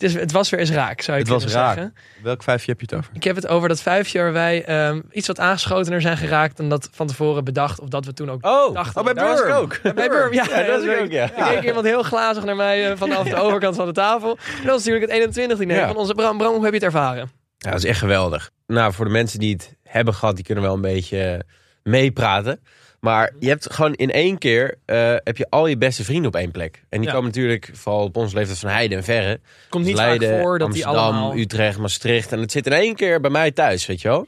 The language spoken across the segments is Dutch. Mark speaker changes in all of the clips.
Speaker 1: Het, is, het was weer eens raak, zou je
Speaker 2: Het was
Speaker 1: kunnen
Speaker 2: raak.
Speaker 1: zeggen.
Speaker 2: Welk vijfje heb je het over?
Speaker 1: Ik heb het over dat vijfje waar wij ehm, iets wat aangeschotener zijn geraakt dan dat van tevoren bedacht. Of dat we toen ook
Speaker 2: Oh,
Speaker 1: dachten.
Speaker 2: bij
Speaker 1: Daar was ik
Speaker 2: Burm.
Speaker 1: ook. Bij Burm, ja.
Speaker 2: Ja, dat is ook, ja.
Speaker 1: Er keek iemand heel glazig naar mij eh, vanaf de overkant van de tafel. En dat was natuurlijk het 21 diner
Speaker 2: Ja.
Speaker 1: van onze Bram. Bram, hoe heb je het ervaren?
Speaker 3: Ja, dat is echt geweldig. Nou, voor de mensen die het hebben gehad, die kunnen wel een beetje eh, meepraten. Maar
Speaker 1: Mhm.
Speaker 3: je hebt gewoon in één keer eh, heb je al je beste vrienden op één plek. En die
Speaker 1: Ja.
Speaker 3: komen natuurlijk, vooral op ons leeftijd, van heide en verre.
Speaker 1: Komt niet
Speaker 3: Leiden,
Speaker 1: vaak voor dat
Speaker 3: Amsterdam,
Speaker 1: die allemaal...
Speaker 3: Utrecht, Maastricht. En het zit in één keer bij mij thuis, weet je wel.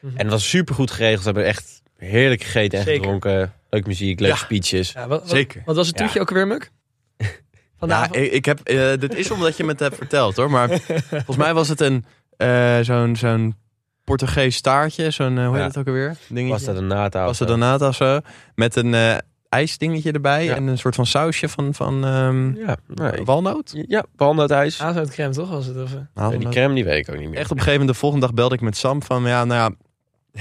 Speaker 1: Mhm.
Speaker 3: En dat was super goed geregeld. We hebben echt heerlijk gegeten en
Speaker 1: Zeker.
Speaker 3: gedronken. Leuk muziek, leuke
Speaker 2: Ja.
Speaker 3: speeches.
Speaker 1: Ja, wat, wat-
Speaker 2: Zeker.
Speaker 1: wat was het toetje ook weer, Muk?
Speaker 2: Nou,
Speaker 1: Vandaag.
Speaker 2: ik, ik heb, eh, dit is omdat je me het hebt verteld hoor. Maar volgens mij was het een eh, zo'n zo'n Portugees staartje. Zo'n, eh, hoe heet
Speaker 3: Ja.
Speaker 2: het ook alweer? Dingetje.
Speaker 3: Was dat een eh? natafel?
Speaker 2: Was dat een naad of zo? Met een eh, ijsdingetje erbij.
Speaker 3: Ja.
Speaker 2: En een soort van sausje van, van ehm,
Speaker 3: Ja, nou, ik-
Speaker 2: walnoot.
Speaker 3: ja behandelthuis.
Speaker 1: Aan zo'n crème, toch? Was het, of, eh?
Speaker 3: die
Speaker 2: Walnoot.
Speaker 3: crème die weet ik ook niet meer.
Speaker 2: Echt op een gegeven moment, de volgende dag belde ik met Sam van... Ja, nou ja,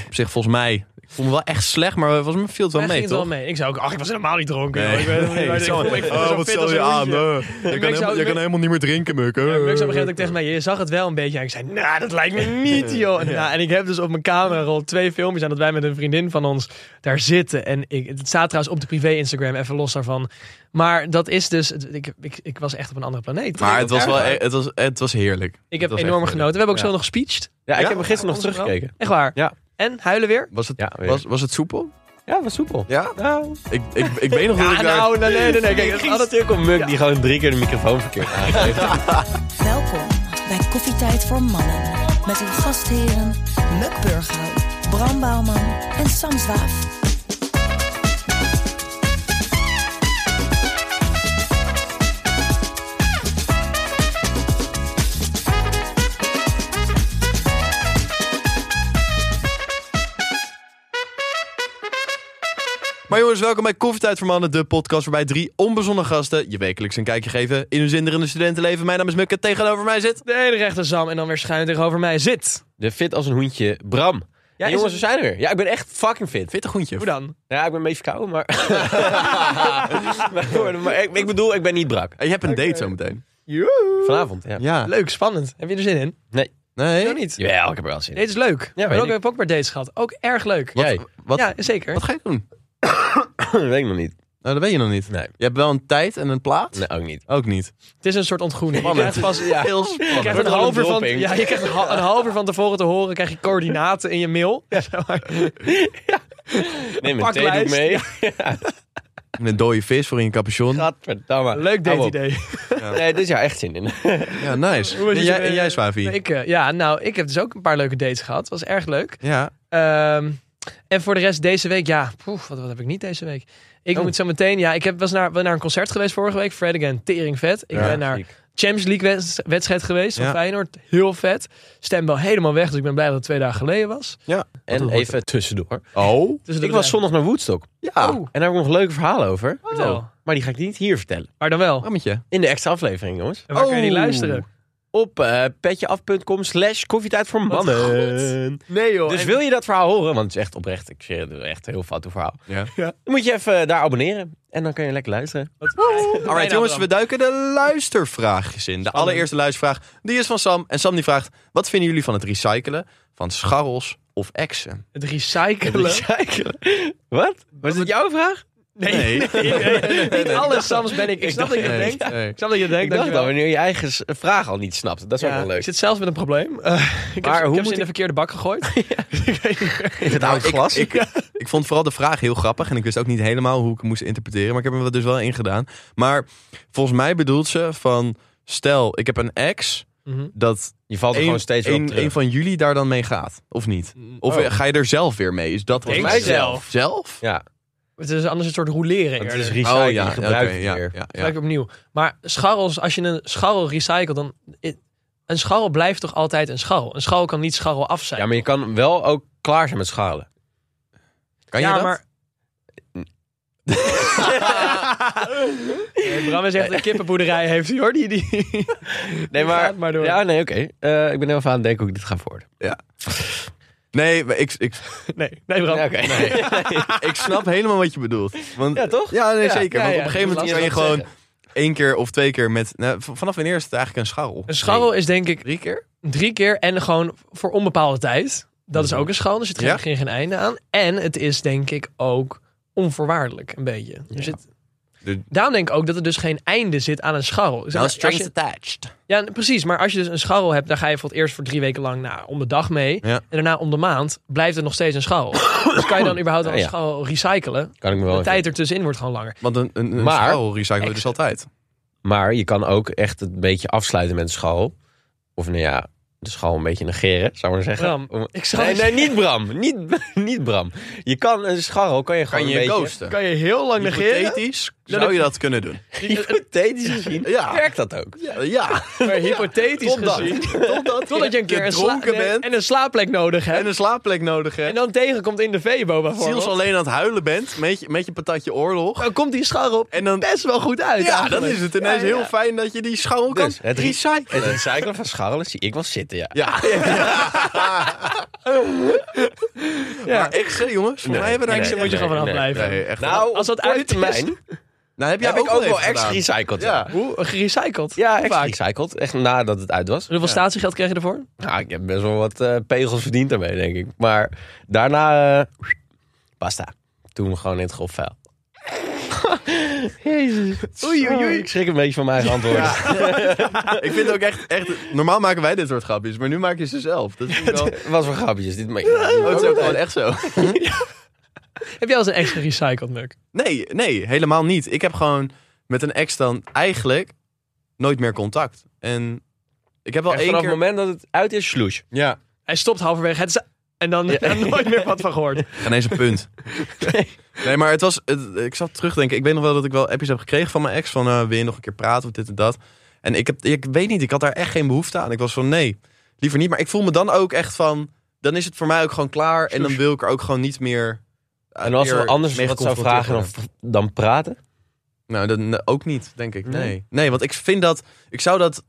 Speaker 2: op zich volgens mij... Ik voel me wel echt slecht, maar volgens mij viel het wel
Speaker 1: Hij
Speaker 2: mee,
Speaker 1: ging het
Speaker 2: toch?
Speaker 1: wel mee. Ik zei ook, ach, ik was helemaal niet dronken.
Speaker 2: Nee.
Speaker 1: joh. Ik weet het niet, maar ik
Speaker 2: Zo-
Speaker 1: voel me- ik voel me zo
Speaker 2: Oh, wat
Speaker 1: fit als
Speaker 2: stel je
Speaker 1: een
Speaker 2: aan?
Speaker 1: hoentje.
Speaker 2: eh? Je
Speaker 1: ik
Speaker 2: kan, helemaal,
Speaker 1: zou-
Speaker 2: je kan helemaal niet meer drinken, Muk. eh.
Speaker 1: Ja, Muk zei op een gegeven moment ook tegen mij, je zag het wel een beetje. En ik zei, nou, dat lijkt me niet, joh. En, nou, en ik heb dus op mijn camerarol twee filmpjes aan dat wij met een vriendin van ons daar zitten. En ik, het staat trouwens op de privé-Instagram, even los daarvan. Maar dat is dus, het- ik, ik, ik was echt op een andere planeet.
Speaker 2: Maar het was wel e- het was, het was heerlijk.
Speaker 1: ik
Speaker 2: Het
Speaker 1: heb
Speaker 2: was echt
Speaker 1: enorm
Speaker 2: heerlijk.
Speaker 1: genoten. We hebben ook
Speaker 2: Ja.
Speaker 1: zo nog gespeecht.
Speaker 3: Ja, ik
Speaker 2: Ja?
Speaker 3: heb hem gisteren nog
Speaker 1: Onze vrouw.
Speaker 3: teruggekeken.
Speaker 1: Echt waar.
Speaker 3: Ja.
Speaker 1: En huilen weer?
Speaker 2: Was het,
Speaker 3: Ja, weer.
Speaker 2: was, was het soepel?
Speaker 3: Ja, was soepel.
Speaker 2: Ja?
Speaker 3: Nou,
Speaker 2: Ik, ik, ik weet nog dat ik
Speaker 1: Ja,
Speaker 2: daar...
Speaker 1: nou, nee, nee, nee. nee. Kijk,
Speaker 3: Kijk,
Speaker 1: dat
Speaker 3: het
Speaker 1: is
Speaker 3: ging
Speaker 1: altijd-
Speaker 3: stuk om Muk die gewoon drie keer de microfoon verkeerd aangeeft.
Speaker 4: Welkom bij Koffietijd voor Mannen. Met uw gastheren Muk Burghout, Bram Bouwman en Sam Zwaaf.
Speaker 2: Maar jongens, welkom bij Koffietijd voor Mannen, de podcast waarbij drie onbezonnen gasten je wekelijks een kijkje geven in hun zinderende studentenleven. Mijn naam is Muk en tegenover mij zit...
Speaker 1: De ene rechter Sam en dan weer schuin tegenover mij zit.
Speaker 3: De fit als een hoentje, Bram.
Speaker 1: Ja,
Speaker 3: Ja,
Speaker 1: is
Speaker 3: jongens,
Speaker 1: het-
Speaker 3: we zijn er weer. Ja, ik ben echt fucking fit.
Speaker 2: Witte groentje.
Speaker 1: Hoe dan?
Speaker 3: Ja, ik ben een beetje verkouden, maar... maar, maar ik, ik bedoel, ik ben niet brak.
Speaker 2: En je hebt een
Speaker 1: eh,
Speaker 2: date zometeen.
Speaker 3: Vanavond, ja.
Speaker 2: Ja.
Speaker 1: Leuk, spannend. Heb je er zin in? Zo
Speaker 2: Nee.
Speaker 1: niet.
Speaker 3: Jawel, ik heb er wel zin in.
Speaker 1: Dit is leuk.
Speaker 3: weet
Speaker 1: maar ook,
Speaker 3: ik.
Speaker 1: ik heb ook maar dates gehad. Ook erg leuk.
Speaker 3: Jij?
Speaker 2: Wat,
Speaker 1: Ja, zeker.
Speaker 2: wat ga je doen?
Speaker 3: dat weet ik nog niet.
Speaker 2: Nou, dat weet je nog niet.
Speaker 3: Nee.
Speaker 2: Je hebt wel een tijd en een plaats.
Speaker 3: Nee, ook niet.
Speaker 2: Ook niet.
Speaker 1: Het is een soort ontgroening. Je
Speaker 2: Spannend.
Speaker 1: krijgt, vast, ja, je
Speaker 2: Heel spannend.
Speaker 1: krijgt een
Speaker 3: Wordt
Speaker 1: half uur
Speaker 3: gewoon
Speaker 1: van,
Speaker 3: een
Speaker 1: ja, je krijgt een, ha- een half uur van tevoren te horen, krijg je coördinaten in je mail.
Speaker 3: Neem mijn
Speaker 1: paklijst.
Speaker 3: thee doe ik mee.
Speaker 2: Met een dode vis voor in je capuchon.
Speaker 3: Gadverdamme.
Speaker 1: Leuk
Speaker 3: Hou
Speaker 1: date
Speaker 3: op.
Speaker 1: idee.
Speaker 3: Nee, dit is jou echt zin in.
Speaker 2: Ja, nice.
Speaker 1: Hoe was
Speaker 2: En
Speaker 1: je-
Speaker 2: jij, en jij Swavi?
Speaker 1: Ik, eh, ja, nou, ik heb dus ook een paar leuke dates gehad. Was erg leuk.
Speaker 2: Ja.
Speaker 1: Ehm, en voor de rest deze week, ja, poef, wat, wat heb ik niet deze week? Ik moet zo meteen, ja, ik heb, was naar, ben naar een concert geweest vorige week. Fred again, tering vet. Ik ben naar
Speaker 3: ziek.
Speaker 1: Champions League wed- wedstrijd geweest van
Speaker 2: Ja.
Speaker 1: Feyenoord. Heel vet. Stem wel helemaal weg, dus ik ben blij dat het twee dagen geleden was.
Speaker 3: En even tussendoor.
Speaker 2: Oh.
Speaker 1: Dus
Speaker 3: Ik was zondag naar Woodstock.
Speaker 2: Ja.
Speaker 1: Oh.
Speaker 3: En daar heb ik nog leuke verhalen over.
Speaker 1: Vertel.
Speaker 3: Maar die ga ik niet hier vertellen.
Speaker 1: Maar dan wel.
Speaker 2: Rammetje.
Speaker 3: In de extra aflevering, jongens.
Speaker 1: En waar kan je die
Speaker 2: Oh.
Speaker 1: luisteren?
Speaker 3: op eh, petjeaf.com slash koffietijd voor mannen.
Speaker 1: Nee joh.
Speaker 3: Dus wil je dat verhaal horen, want het is echt oprecht, ik zeg het het is echt een heel fout verhaal.
Speaker 2: Ja.
Speaker 3: Dan moet je even eh, daar abonneren en dan kun je lekker luisteren.
Speaker 2: Alright, jongens, we duiken de luistervraagjes in. De allereerste luistervraag, die is van Sam. En Sam die vraagt, wat vinden jullie van het recyclen van scharrels of exen?
Speaker 1: Het recyclen.
Speaker 3: Recyclen. Wat? Was dit jouw vraag?
Speaker 1: Nee, nee, nee, niet alles. Soms ben ik. Ik snap dat je het denkt.
Speaker 2: Nee.
Speaker 1: Ik snap dat je het denkt.
Speaker 3: Ik dacht
Speaker 1: dankjewel.
Speaker 3: al, wanneer je eigen s- vraag al niet snapt. Dat is ook
Speaker 1: Ja,
Speaker 3: wel
Speaker 1: Ik
Speaker 3: leuk.
Speaker 1: zit zelfs met een probleem. Eh, ik
Speaker 3: Maar
Speaker 1: heb,
Speaker 3: hoe
Speaker 1: ze- ik heb
Speaker 3: moet
Speaker 1: ze in de
Speaker 3: ik-
Speaker 1: verkeerde bak gegooid.
Speaker 3: In het oude glas.
Speaker 2: Ik, ik vond vooral de vraag heel grappig en ik wist ook niet helemaal hoe ik hem moest interpreteren, maar ik heb hem er dus wel in gedaan. Maar volgens mij bedoelt ze van, stel ik heb een ex,
Speaker 1: Mhm.
Speaker 2: dat
Speaker 3: je valt er
Speaker 2: een,
Speaker 3: gewoon steeds weer op
Speaker 2: een-
Speaker 3: terug.
Speaker 2: een van jullie daar dan mee gaat, of niet? Of
Speaker 3: Oh.
Speaker 2: ga je er zelf weer mee? Is dat
Speaker 1: Denk
Speaker 2: wat het is?
Speaker 1: zelf.
Speaker 2: Zelf? Oh
Speaker 3: Ja.
Speaker 1: Het is anders een soort rouleren
Speaker 3: Want
Speaker 1: eerder.
Speaker 3: het is recyclen,
Speaker 2: ja,
Speaker 3: je gebruikt
Speaker 2: oké,
Speaker 3: het
Speaker 2: ja,
Speaker 3: weer.
Speaker 2: ja, ja.
Speaker 1: Gebruik het opnieuw. Maar scharrels, als je een scharrel recycelt, dan... Een scharrel blijft toch altijd een scharrel? Een scharrel kan niet scharrel af zijn.
Speaker 3: Ja, maar je kan wel ook klaar zijn met schalen.
Speaker 2: Kan
Speaker 1: Ja,
Speaker 2: je dat?
Speaker 1: maar- Nee, Bram is echt een kippenboerderij heeft hij hoor. Die, die...
Speaker 3: Nee,
Speaker 1: gaat
Speaker 3: maar...
Speaker 1: maar door.
Speaker 3: Ja, nee, oké. Eh, ik ben heel veel aan het denken hoe ik dit ga verwoorden.
Speaker 2: Nee, maar ik, ik,
Speaker 1: Nee, Oh, nee Bram.
Speaker 3: Ja, oké.
Speaker 2: ik snap helemaal wat je bedoelt. Want,
Speaker 3: Ja, toch?
Speaker 2: Ja, nee,
Speaker 3: Ja,
Speaker 2: zeker.
Speaker 3: ja,
Speaker 2: want
Speaker 3: ja,
Speaker 2: op een gegeven
Speaker 3: dat
Speaker 2: moment
Speaker 3: is
Speaker 2: kan je
Speaker 3: lastig
Speaker 2: gewoon één keer of twee keer met... Nou, v- vanaf wanneer is het eigenlijk een scharrel?
Speaker 1: Een scharrel is denk ik
Speaker 2: Drie keer?
Speaker 1: drie keer en gewoon voor onbepaalde tijd. Dat is ook een scharrel, dus het
Speaker 2: Mhm. Ja.
Speaker 1: geeft geen, geen einde aan. En het is denk ik ook onvoorwaardelijk een beetje. Dus het,
Speaker 2: De- Nou,
Speaker 1: daarom denk ik ook dat er dus geen einde zit aan een scharrel. Zeg maar, als je-
Speaker 2: attached.
Speaker 1: Ja, precies. Maar als je dus een scharrel hebt, dan ga je voor het eerst voor drie weken lang nou, om de dag mee.
Speaker 2: Ja.
Speaker 1: En daarna om de maand blijft het nog steeds een scharrel. dus kan je dan überhaupt al een
Speaker 3: Ja, ja.
Speaker 1: scharrel recyclen?
Speaker 3: Kan ik me wel
Speaker 2: Oh,
Speaker 1: De
Speaker 3: even-
Speaker 1: tijd ertussenin wordt gewoon langer.
Speaker 2: Want een, een, een
Speaker 3: Maar-
Speaker 2: scharrel recyclen we dus altijd.
Speaker 3: Maar je kan ook echt het een beetje afsluiten met een schaal. Of nou ja, de schaal een beetje negeren, zou ik maar zeggen.
Speaker 1: Bram,
Speaker 3: Om-
Speaker 1: ik zou-
Speaker 3: Nee, nee, niet Bram. Niet, niet Bram. Je kan een scharrel, kan je gewoon
Speaker 2: Kan je
Speaker 3: een beetje...
Speaker 2: ghosten?
Speaker 1: Kan je heel lang
Speaker 2: Hypothetisch zou je dat kunnen doen.
Speaker 3: Hypothetisch gezien
Speaker 2: Ja.
Speaker 3: werkt dat ook.
Speaker 2: Ja, ja.
Speaker 1: Maar hypothetisch
Speaker 2: totdat-
Speaker 1: gezien.
Speaker 2: Totdat,
Speaker 1: Totdat je een keer een, sla-
Speaker 2: dronken
Speaker 1: nee,
Speaker 2: bent
Speaker 1: en een slaapplek nodig hebt.
Speaker 2: en een slaapplek nodig
Speaker 1: En
Speaker 2: hebt.
Speaker 1: dan tegenkomt in de Vebo
Speaker 2: Ziels
Speaker 1: bijvoorbeeld.
Speaker 2: alleen aan het huilen bent met je, met je patatje oorlog.
Speaker 1: Dan komt die scharrel
Speaker 2: En dan,
Speaker 1: best wel goed uit.
Speaker 2: ja,
Speaker 1: eigenlijk.
Speaker 2: dan is het ineens
Speaker 1: Ja, ja.
Speaker 2: heel fijn dat je die scharrel
Speaker 3: Dus,
Speaker 2: kan
Speaker 3: het re-
Speaker 2: recyclen.
Speaker 3: Het recyclen van scharrelen zie ik wel zitten, ja.
Speaker 2: Ja. Maar echt, hè, jongens. Voor
Speaker 3: Nee,
Speaker 2: mij hebben we daar
Speaker 3: nee,
Speaker 2: echt
Speaker 1: moet je
Speaker 2: nee,
Speaker 1: gewoon vanaf
Speaker 3: nee,
Speaker 1: blijven.
Speaker 2: nee, echt.
Speaker 3: Nou,
Speaker 1: Als dat
Speaker 3: op korte
Speaker 1: uit is,
Speaker 2: nou heb jij
Speaker 3: heb ik ook wel
Speaker 2: echt
Speaker 3: ex gerecycled. Ja,
Speaker 2: Ja.
Speaker 1: Hoe? Gerecycled?
Speaker 3: ja
Speaker 1: Hoe
Speaker 3: ex
Speaker 1: vaak?
Speaker 3: gerecycled. Echt nadat het uit was.
Speaker 1: Hoeveel statiegeld kreeg je ervoor?
Speaker 3: Nou, ik heb best wel wat eh, pegels verdiend daarmee, denk ik. Maar daarna... eh, basta. Toen gewoon in het grofvuil. Jezus. Oei, oei, oei. Ik schrik een beetje van mijn eigen antwoorden.
Speaker 2: Ik vind ook echt, echt... Normaal maken wij dit soort grapjes, maar nu maak je ze zelf. Dat vind ik wel...
Speaker 3: Het was voor grapjes. Dit, maar,
Speaker 2: Oh, het is ook gewoon echt zo.
Speaker 1: Heb jij als een ex gerecycled, Muk?
Speaker 2: Nee, nee, helemaal niet. Ik heb gewoon met een ex dan eigenlijk nooit meer contact. En ik heb wel
Speaker 3: Echt
Speaker 2: één
Speaker 3: vanaf
Speaker 2: keer...
Speaker 3: het moment dat het uit is, sloes.
Speaker 2: Ja.
Speaker 1: Hij stopt halverwege. Het is- En dan heb ik nooit meer wat van gehoord.
Speaker 2: Geen eens een punt. Nee, maar het was. het- ik zat terugdenken. Ik weet nog wel dat ik wel appjes heb gekregen van mijn ex. Van eh wil je nog een keer praten of dit en dat. En ik, heb, ik weet niet, ik had daar echt geen behoefte aan. Ik was van nee, liever niet. Maar ik voel me dan ook echt van. Dan is het voor mij ook gewoon klaar. En dan wil ik er ook gewoon niet meer. eh,
Speaker 3: En als
Speaker 2: meer
Speaker 3: we anders
Speaker 2: mee
Speaker 3: wat zou
Speaker 2: geconfronteerd
Speaker 3: vragen dan,
Speaker 2: worden.
Speaker 3: dan praten.
Speaker 2: Nou, dat, nee, ook niet, denk ik. Nee.
Speaker 3: Nee.
Speaker 2: nee. want ik vind dat. Ik zou dat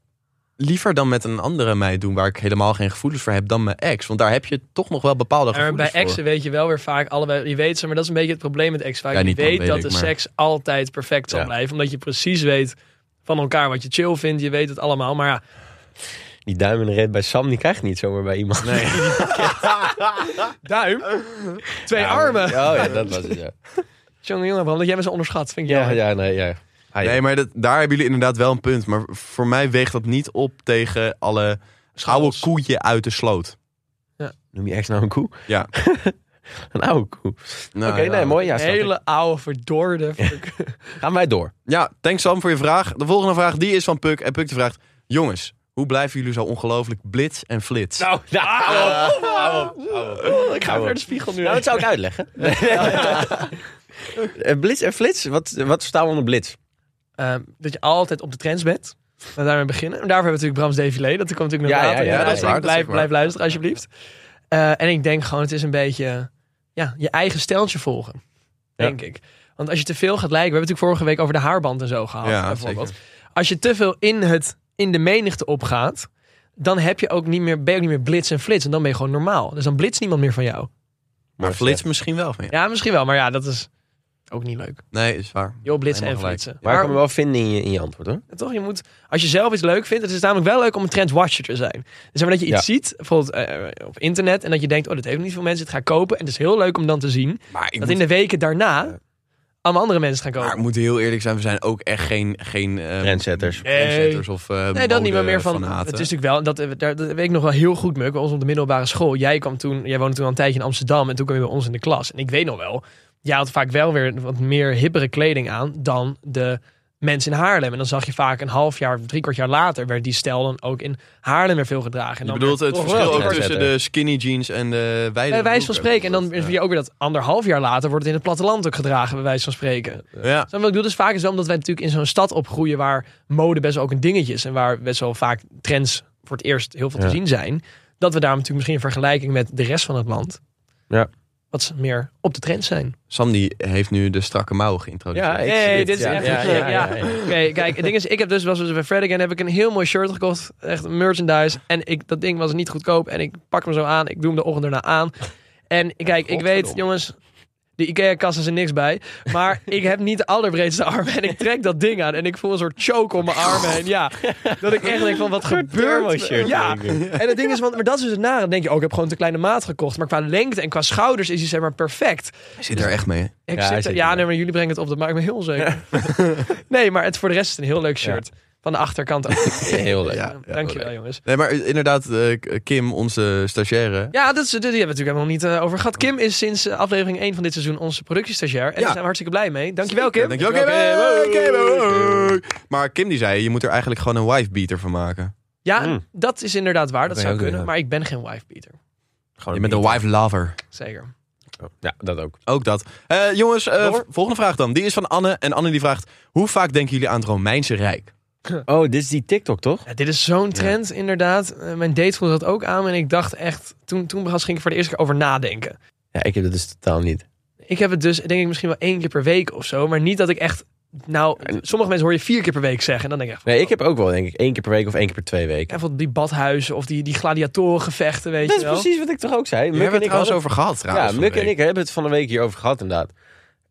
Speaker 2: liever dan met een andere meid doen. Waar ik helemaal geen gevoelens voor heb dan mijn ex. Want daar heb je toch nog wel bepaalde
Speaker 1: Maar
Speaker 2: gevoelens
Speaker 1: bij
Speaker 2: voor.
Speaker 1: exen weet je wel weer vaak allebei. Je weet ze, maar dat is een beetje het probleem met exen. Vaak
Speaker 2: Ja,
Speaker 1: je
Speaker 2: niet dan,
Speaker 1: weet
Speaker 2: weet
Speaker 1: dat
Speaker 2: ik,
Speaker 1: de
Speaker 2: maar-
Speaker 1: seks altijd perfect zal
Speaker 3: Ja.
Speaker 1: blijven. Omdat je precies weet van elkaar wat je chill vindt. Je weet het allemaal. Maar ja,
Speaker 3: Die duim in de reet bij Sam, die krijg je niet zomaar bij iemand. Nee.
Speaker 1: duim. Twee armen.
Speaker 3: Oh ja, dat was het, ja.
Speaker 1: Jongen, jongen, Bram, dat jij me zo onderschat. Vind ik
Speaker 3: Ja,
Speaker 1: jammer.
Speaker 3: ja, nee, ja. Ah, ja.
Speaker 2: Nee, maar dat, daar hebben jullie inderdaad wel een punt. Maar voor mij weegt dat niet op tegen alle oude koeien uit de sloot.
Speaker 3: Noem je ex nou een koe?
Speaker 2: Ja.
Speaker 3: Een oude koe.
Speaker 2: Nou,
Speaker 3: Oké, nee, mooi. Ja, snap ik.
Speaker 1: Hele oude, verdorde.
Speaker 3: Gaan wij door.
Speaker 2: Ja, thanks Sam voor je vraag. De volgende vraag die is van Puk. En Puk die vraagt... Jongens, hoe blijven jullie zo ongelooflijk blitz en flits?
Speaker 3: Nou, nou, hou op, hou op, hou op.
Speaker 1: Ah, ik ga
Speaker 3: Oude.
Speaker 1: weer naar de spiegel nu.
Speaker 3: Nou, dat zou ik uitleggen. Eh, Blitz en flits? Wat, wat verstaan we onder blitz?
Speaker 1: Ehm, dat je altijd op de trends bent. Laten we daarmee beginnen. En daarvoor hebben we natuurlijk Brams Defilé. Dat komt natuurlijk nog
Speaker 3: Ja,
Speaker 1: later.
Speaker 3: ja, ja, dat is
Speaker 1: Dus
Speaker 2: waar, dat is
Speaker 1: blijf,
Speaker 2: waar.
Speaker 1: blijf luisteren alsjeblieft. Eh, en ik denk gewoon, het is een beetje ja, je eigen steltje
Speaker 3: Ja.
Speaker 1: volgen. Denk ik. Want als je te veel gaat lijken. We hebben het natuurlijk vorige week over de haarband en zo gehad.
Speaker 2: Ja,
Speaker 1: bijvoorbeeld. Als je te veel in, het, in de menigte opgaat. Dan heb je ook niet meer, ben je ook niet meer blitz en flits. En dan ben je gewoon normaal. Dus dan blitst niemand meer van jou.
Speaker 2: maar flits misschien wel van je.
Speaker 1: Ja, misschien wel. Maar ja, dat is ook niet leuk.
Speaker 2: Nee, is waar.
Speaker 1: Joh, blitsen en
Speaker 2: Helemaal gelijk.
Speaker 1: flitsen.
Speaker 3: Maar ik kan me wel vinden in je, in je antwoord hoor.
Speaker 1: Ja, Toch, je moet, als je zelf iets leuk vindt, het is namelijk wel leuk om een trendwatcher te zijn. Dus zeg maar dat je iets ziet, bijvoorbeeld eh, op internet, en dat je denkt, oh, dat heeft niet veel mensen, het ga ik kopen. En het is heel leuk om dan te zien
Speaker 2: Maar ik,
Speaker 1: dat
Speaker 2: moet,
Speaker 1: in de weken daarna allemaal andere mensen gaan
Speaker 2: maar ik
Speaker 1: kopen.
Speaker 2: moet heel eerlijk zijn. We zijn ook echt geen... geen eh,
Speaker 3: Trendsetters.
Speaker 2: trendsetters of eh
Speaker 1: Nee, dat niet, maar meer van,
Speaker 2: modefanaten.
Speaker 1: het is natuurlijk wel, en dat, eh, daar, dat weet ik nog wel heel goed, Muk, bij ons op de middelbare school. Jij kwam toen, jij woonde toen al een tijdje in Amsterdam en toen kwam je bij ons in de klas. En ik weet nog wel, jij had vaak wel weer wat meer hippere kleding aan dan de mensen in Haarlem. En dan zag je vaak een half jaar, drie kwart jaar later... werd die stijl dan ook in Haarlem weer veel gedragen. En
Speaker 2: Je
Speaker 1: dan
Speaker 2: bedoelt
Speaker 1: werd
Speaker 2: het
Speaker 1: toch
Speaker 2: verschil
Speaker 1: wel
Speaker 2: ook
Speaker 3: Ja,
Speaker 2: tussen
Speaker 3: zetten.
Speaker 2: de skinny jeans en de wijde
Speaker 1: bij wijze van
Speaker 2: broeken.
Speaker 1: spreken. En dan is weer ook weer dat anderhalf jaar later wordt het in het platteland ook gedragen, bij wijze van spreken. Snap
Speaker 2: Ja.
Speaker 1: je wat ik bedoel? Dus vaak is wel omdat wij natuurlijk in zo'n stad opgroeien waar mode best wel ook een dingetje is. En waar best wel vaak trends voor het eerst heel veel te
Speaker 3: Ja.
Speaker 1: zien zijn. Dat we daar natuurlijk misschien in vergelijking met de rest van het land.
Speaker 3: Ja.
Speaker 1: Wat ze meer op de trend zijn.
Speaker 2: Sam die heeft nu de strakke mouwen geïntroduceerd.
Speaker 3: Ja, ik-
Speaker 1: Hey,
Speaker 3: zie
Speaker 1: dit is
Speaker 3: het,
Speaker 1: echt
Speaker 3: ja.
Speaker 1: een
Speaker 3: Ja,
Speaker 1: gek,
Speaker 3: ja, ja,
Speaker 1: ja.
Speaker 3: ja.
Speaker 1: Oké, kijk, het ding is, ik heb dus, was dus bij Fred again, heb ik een heel mooi shirt gekocht. Echt merchandise. En ik, dat ding was niet goedkoop. En ik pak hem zo aan. Ik doe hem de ochtend erna aan. En kijk, ik weet, jongens, de Ikea-kassen zijn niks bij. Maar ik heb niet de allerbreedste armen. En ik trek dat ding aan. En ik voel een soort choke om mijn armen. En ja, dat ik echt denk van, wat gebeurt
Speaker 3: Thermal
Speaker 1: er?
Speaker 3: shirt.
Speaker 1: Ja,
Speaker 3: denk ik.
Speaker 1: en het ding is, want, maar dat is dus het nare. Dan denk je, oh, ik heb gewoon te kleine maat gekocht. Maar qua lengte en qua schouders is hij zeg maar perfect.
Speaker 2: Hij zit er echt mee.
Speaker 1: Ik
Speaker 3: Ja, hij zit
Speaker 1: zit, ja,
Speaker 3: erbij.
Speaker 1: nee, maar jullie brengen het op. Dat maakt me heel onzeker. nee, maar het, voor de rest is het een heel leuk shirt. Van de achterkant ook.
Speaker 3: Heel leuk.
Speaker 2: Ja, ja,
Speaker 1: Dankjewel,
Speaker 2: leuk.
Speaker 1: jongens.
Speaker 2: Nee, maar inderdaad, eh, K- Kim, onze stagiaire.
Speaker 1: Ja, dat is, die hebben we natuurlijk helemaal niet eh, over gehad. Kim is sinds eh, aflevering 1 van dit seizoen onze productiestagiair. En daar
Speaker 2: Ja.
Speaker 1: zijn we hartstikke blij mee. Dankjewel, Kim.
Speaker 2: Dankjewel, Kim. Hey, Kim. Maar Kim die zei, je moet er eigenlijk gewoon een wife beater van maken.
Speaker 1: Ja,
Speaker 3: Mm.
Speaker 1: dat is inderdaad waar. Dat,
Speaker 3: Dat ben je
Speaker 1: zou
Speaker 3: ook
Speaker 1: kunnen.
Speaker 3: weer, ja.
Speaker 1: Maar ik ben geen wifebeater.
Speaker 3: Gewoon Oh,
Speaker 2: Je bent een wife lover.
Speaker 1: Zeker.
Speaker 3: Ja, dat ook.
Speaker 2: Ook dat. Eh, jongens, eh,
Speaker 1: Door.
Speaker 2: volgende vraag dan. Die is van Anne. En Anne die vraagt, hoe vaak denken jullie aan het Romeinse Rijk?
Speaker 3: Oh, dit is die TikTok, toch?
Speaker 1: Ja, dit is zo'n trend, inderdaad. Eh, mijn date voelde dat ook aan. En ik dacht echt, toen, toen pas ging ik voor de eerste keer over nadenken.
Speaker 3: Ja, ik heb dat dus totaal niet.
Speaker 1: Ik heb het dus, denk ik, misschien wel één keer per week of zo. Maar niet dat ik echt. Nou, sommige mensen hoor je vier keer per week zeggen. En dan denk ik echt. van,
Speaker 3: Nee, ik heb ook wel, denk ik, één keer per week of één keer per twee weken.
Speaker 1: En van die badhuizen of die, die gladiatorengevechten, weet
Speaker 3: Dat
Speaker 1: je
Speaker 3: is
Speaker 1: wel.
Speaker 3: precies wat ik toch ook zei.
Speaker 2: We
Speaker 3: Muk
Speaker 2: hebben
Speaker 3: en
Speaker 2: het
Speaker 3: ik
Speaker 2: trouwens
Speaker 3: hadden-
Speaker 2: over gehad trouwens.
Speaker 3: Ja,
Speaker 2: van de
Speaker 3: Muk en
Speaker 2: week.
Speaker 3: ik hebben het van de week hierover gehad, inderdaad.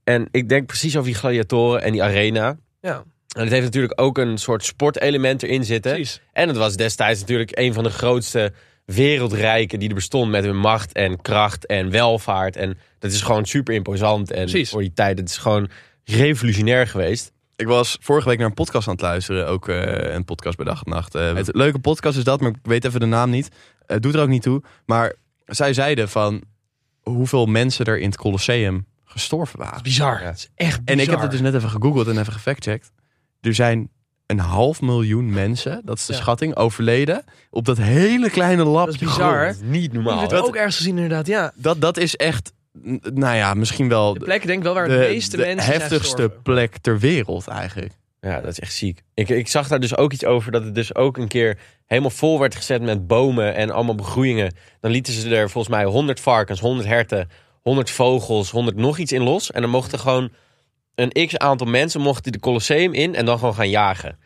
Speaker 3: En ik denk precies over die gladiatoren en die arena.
Speaker 1: Ja,
Speaker 3: En het heeft natuurlijk ook een soort sportelement erin zitten.
Speaker 1: precies.
Speaker 3: En het was destijds natuurlijk een van de grootste wereldrijken die er bestond met hun macht en kracht en welvaart. En dat is gewoon super imposant. En
Speaker 1: Precies.
Speaker 3: voor die tijd, het is gewoon revolutionair geweest.
Speaker 2: Ik was vorige week naar een podcast aan het luisteren. Ook eh, een podcast bij dag en nacht. Eh, het leuke podcast is dat, maar ik weet even de naam niet. Het doet er ook niet toe. Maar zij zeiden van hoeveel mensen er in het Colosseum gestorven waren.
Speaker 1: Bizar.
Speaker 3: Ja.
Speaker 1: Het is echt bizar.
Speaker 2: En ik heb het dus net even gegoogeld en even gefactcheckt. Er zijn een half miljoen mensen, dat is de
Speaker 1: Ja.
Speaker 2: schatting, overleden op dat hele kleine lapje
Speaker 1: is bizar,
Speaker 2: grond.
Speaker 1: hè?
Speaker 3: Dat is niet
Speaker 1: Ik
Speaker 3: normaal.
Speaker 1: heb
Speaker 3: hè?
Speaker 1: het ook ergens gezien, inderdaad. Ja,
Speaker 2: Dat, dat is echt, n- nou ja, misschien wel
Speaker 1: de
Speaker 2: de,
Speaker 1: plek denk ik wel waar de meeste
Speaker 2: de
Speaker 1: mensen zijn
Speaker 2: heftigste
Speaker 1: gestorven.
Speaker 2: plek ter wereld eigenlijk.
Speaker 3: Ja, dat is echt ziek. Ik, ik zag daar dus ook iets over dat het dus ook een keer helemaal vol werd gezet met bomen en allemaal begroeiingen. Dan lieten ze er volgens mij 100 varkens, 100 herten, 100 vogels, 100 nog iets in los. En dan mochten gewoon een x aantal mensen mochten die de Colosseum in en dan gewoon gaan jagen.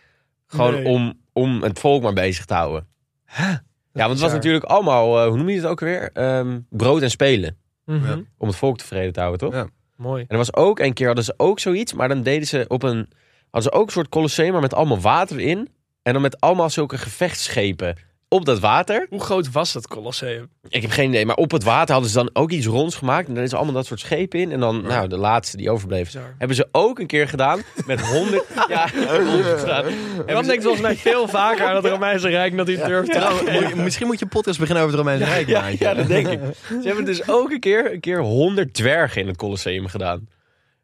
Speaker 3: Gewoon
Speaker 1: Nee.
Speaker 3: om, om het volk maar bezig te houden. Ja, want het was
Speaker 1: bizar.
Speaker 3: natuurlijk allemaal, eh, hoe noem je het ook weer? Ehm, brood en spelen.
Speaker 1: Mhm.
Speaker 3: Om het volk tevreden te houden, toch?
Speaker 2: Ja.
Speaker 1: Mooi.
Speaker 3: En er was ook een keer hadden ze ook zoiets, maar dan deden ze op een hadden ze ook een soort colosseum maar met allemaal water in en dan met allemaal zulke gevechtsschepen op dat water.
Speaker 1: Hoe groot was dat Colosseum?
Speaker 3: Ik heb geen idee, maar op het water hadden ze dan ook iets ronds gemaakt en dan is er allemaal dat soort schepen in en dan nou de laatste die overbleef.
Speaker 1: Bizar.
Speaker 3: Hebben ze ook een keer gedaan met honderd. ja, honderd gedaan.
Speaker 1: En dan
Speaker 3: ze-
Speaker 1: denkt volgens mij veel vaker aan het Romeinse Rijk dat hij het durft.
Speaker 2: Trouw, moet je- misschien moet je een podcast beginnen over het Romeinse Rijk.
Speaker 3: Oh, Ja,
Speaker 2: maatje.
Speaker 3: ja, dat denk ik. Ze hebben dus ook een keer, een keer 100 dwergen in het Colosseum gedaan.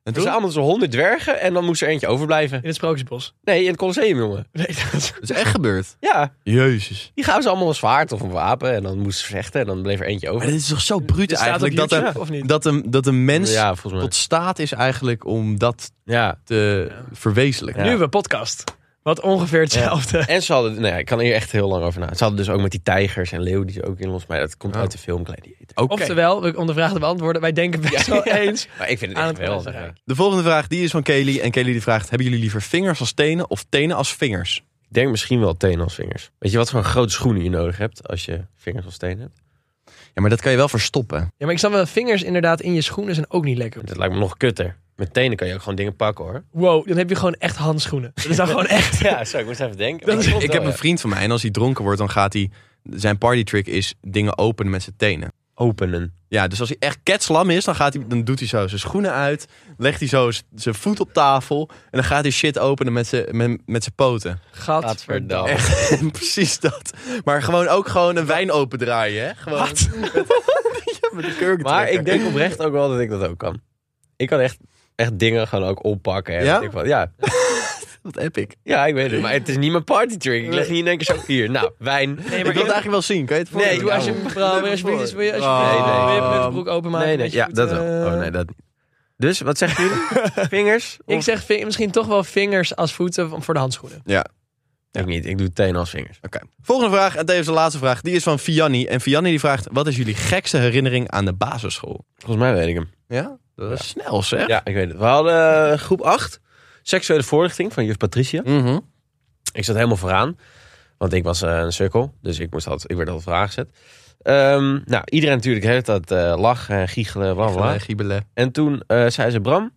Speaker 2: En toen?
Speaker 3: Verzamelden ze 100 dwergen en dan moest er eentje overblijven.
Speaker 1: In het Sprookjesbos.
Speaker 3: Nee, in het Colosseum, jongen.
Speaker 1: Nee, dat is...
Speaker 2: Dat is echt gebeurd.
Speaker 3: Ja,
Speaker 2: Jezus.
Speaker 3: Die gaven ze allemaal een zwaard of een wapen en dan moesten ze vechten en dan bleef er eentje
Speaker 2: Maar
Speaker 3: over.
Speaker 2: dit is toch zo bruut
Speaker 1: Dit staat op
Speaker 2: eigenlijk dat,
Speaker 1: YouTube,
Speaker 2: een-
Speaker 1: of niet?
Speaker 2: dat, een, dat een mens
Speaker 3: Ja, volgens mij.
Speaker 2: tot staat is eigenlijk om dat
Speaker 3: Ja.
Speaker 2: te verwezenlijken.
Speaker 1: Nieuwe podcast. Wat ongeveer hetzelfde.
Speaker 3: En ze hadden, nou ja, ik kan hier echt heel lang over na. Ze hadden dus ook met die tijgers en leeuwen die ze ook in los, maar dat komt
Speaker 2: Oh.
Speaker 3: uit de film Gladiator.
Speaker 2: Oké.
Speaker 1: Oftewel, we- om de vraag te beantwoorden, wij denken best wel eens.
Speaker 3: Maar ik vind het
Speaker 2: Ah,
Speaker 1: Aan
Speaker 3: echt
Speaker 1: het
Speaker 3: wel.
Speaker 1: Gladiator.
Speaker 2: De volgende vraag die is van Kelly. En Kelly die vraagt, hebben jullie liever vingers als tenen of tenen als vingers?
Speaker 3: Ik denk misschien wel tenen als vingers. Weet je wat voor grote schoenen je nodig hebt als je vingers als tenen hebt?
Speaker 2: Ja, maar dat kan je wel verstoppen.
Speaker 1: Ja, maar ik snap wel, vingers inderdaad in je schoenen zijn ook niet lekker.
Speaker 3: Dat lijkt me nog kutter. Met tenen kan je ook gewoon dingen pakken hoor.
Speaker 1: Wow, dan heb je gewoon echt handschoenen. Dat is dan gewoon echt.
Speaker 3: Ja, zo, ik moest even denken.
Speaker 1: Dat
Speaker 3: Maar
Speaker 1: is-
Speaker 3: klopt
Speaker 2: Ik
Speaker 3: wel,
Speaker 2: heb een
Speaker 3: ja.
Speaker 2: vriend van mij en als hij dronken wordt, dan gaat hij... Zijn partytrick is dingen openen met zijn tenen.
Speaker 3: Openen.
Speaker 2: Ja, dus als hij echt ketslam is, dan, gaat hij, dan doet hij zo zijn schoenen uit. Legt hij zo z- zijn voet op tafel. En dan gaat hij shit openen met zijn, met, met zijn poten.
Speaker 1: Gadverdamme.
Speaker 3: Gadverdamme.
Speaker 2: Precies dat. Maar gewoon ook gewoon een wijn opendraaien, hè? Gewoon Ja, met de kurk
Speaker 3: Maar
Speaker 2: trekken.
Speaker 3: ik denk oprecht ook wel dat ik dat ook kan. Ik kan echt, echt dingen gewoon ook oppakken. En
Speaker 2: Ja?
Speaker 3: weet ik wat. ja.
Speaker 2: Wat epic. Ik
Speaker 3: Ja, ik weet het. Maar het is niet mijn party trick. Ik leg niet in één keer zo hier. Nou, wijn.
Speaker 1: Nee,
Speaker 2: wil
Speaker 1: maar
Speaker 2: het eigenlijk wel zien. Kan je het Nou. voor
Speaker 3: Nee,
Speaker 2: me
Speaker 1: doe
Speaker 3: Ja,
Speaker 2: doen?
Speaker 1: als je
Speaker 3: man.
Speaker 1: vrouw weer alsjeblieft eens- wil je alsjeblieft
Speaker 2: Oh.
Speaker 1: wil je even met de broek openmaken.
Speaker 3: Nee, nee.
Speaker 1: dat je
Speaker 3: Ja,
Speaker 1: goed,
Speaker 3: dat wel.
Speaker 1: eh,
Speaker 3: Oh nee, dat niet. Dus, wat zeggen jullie? Vingers?
Speaker 1: Ik
Speaker 3: Of-
Speaker 1: zeg ving- misschien toch wel vingers als voeten voor de handschoenen.
Speaker 3: Ik niet. Ik doe tenen als vingers.
Speaker 2: Oké. Volgende vraag, en tevens de laatste vraag. Die is van Fianni. En Fianni die vraagt, wat is jullie gekste herinnering aan de basisschool?
Speaker 3: Volgens mij weet ik hem.
Speaker 2: Ja? Dat is snel zeg.
Speaker 3: Ja, ik weet het. We hadden eh, groep 8. Seksuele voorlichting van juf Patricia.
Speaker 2: Mhm.
Speaker 3: Ik zat helemaal vooraan. Want ik was eh, een sukkel. Dus ik, moest altijd, ik werd altijd vooraan gezet. Ehm, nou, iedereen natuurlijk heeft dat eh lachen, en giechelen, bla bla, bla.
Speaker 2: Voilà, giebelen.
Speaker 3: En toen eh, zei ze, Bram,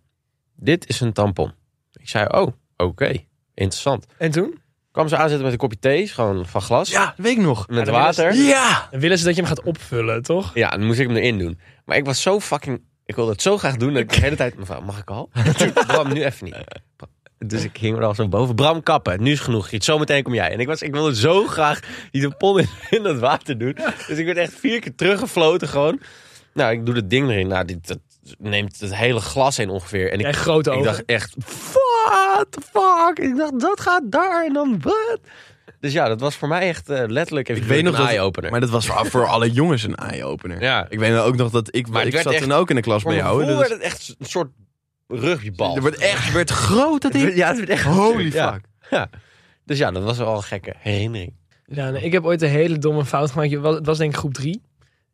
Speaker 3: dit is een tampon. Ik zei, oh, oké. Interessant.
Speaker 1: En toen?
Speaker 3: Kwam ze aanzetten met een kopje thee, is gewoon van glas.
Speaker 2: Ja, dat weet ik nog.
Speaker 3: met
Speaker 1: Ja, dan
Speaker 3: water.
Speaker 2: Ja!
Speaker 1: Dan willen ze dat je hem gaat opvullen, toch?
Speaker 3: Ja, dan moest ik hem erin doen. Maar ik was zo fucking... Ik wilde het zo graag doen dat ik de hele tijd... Mevrouw, mag ik al? Bram, nu even niet. Dus ik ging er al zo boven. Bram, kappen. Nu is genoeg. Zometeen kom jij. En ik, was, ik wilde zo graag die de pon in, in dat water doen. Dus ik werd echt vier keer teruggefloten gewoon. Nou, ik doe dat ding erin. Nou, dit, dat neemt het hele glas in ongeveer. En ik,
Speaker 1: En grote
Speaker 3: ik
Speaker 1: ogen.
Speaker 3: dacht echt... What the fuck? Ik dacht, dat gaat daar en dan wat? Dus ja, dat was voor mij echt eh, letterlijk even
Speaker 2: Ik weet nog
Speaker 3: een
Speaker 2: dat-
Speaker 3: eye-opener.
Speaker 2: Maar dat was voor, voor alle jongens een eye-opener.
Speaker 3: Ja.
Speaker 2: Ik weet nou ook nog dat ik,
Speaker 3: Maar het
Speaker 2: ik
Speaker 3: werd
Speaker 2: zat
Speaker 3: echt-
Speaker 2: toen ook in de klas bij
Speaker 3: Voor
Speaker 2: jou. dus-
Speaker 3: mijn gevoel
Speaker 2: Dat
Speaker 3: werd het echt een soort rugbybal.
Speaker 2: Er wordt echt werd groot dat ding.
Speaker 3: Ja, het werd echt
Speaker 2: Holy
Speaker 3: Ja.
Speaker 2: fuck.
Speaker 3: Dus ja, dat was wel een gekke herinnering.
Speaker 1: Ja, nee, ik heb ooit een hele domme fout gemaakt. Je was- Het was denk ik groep drie.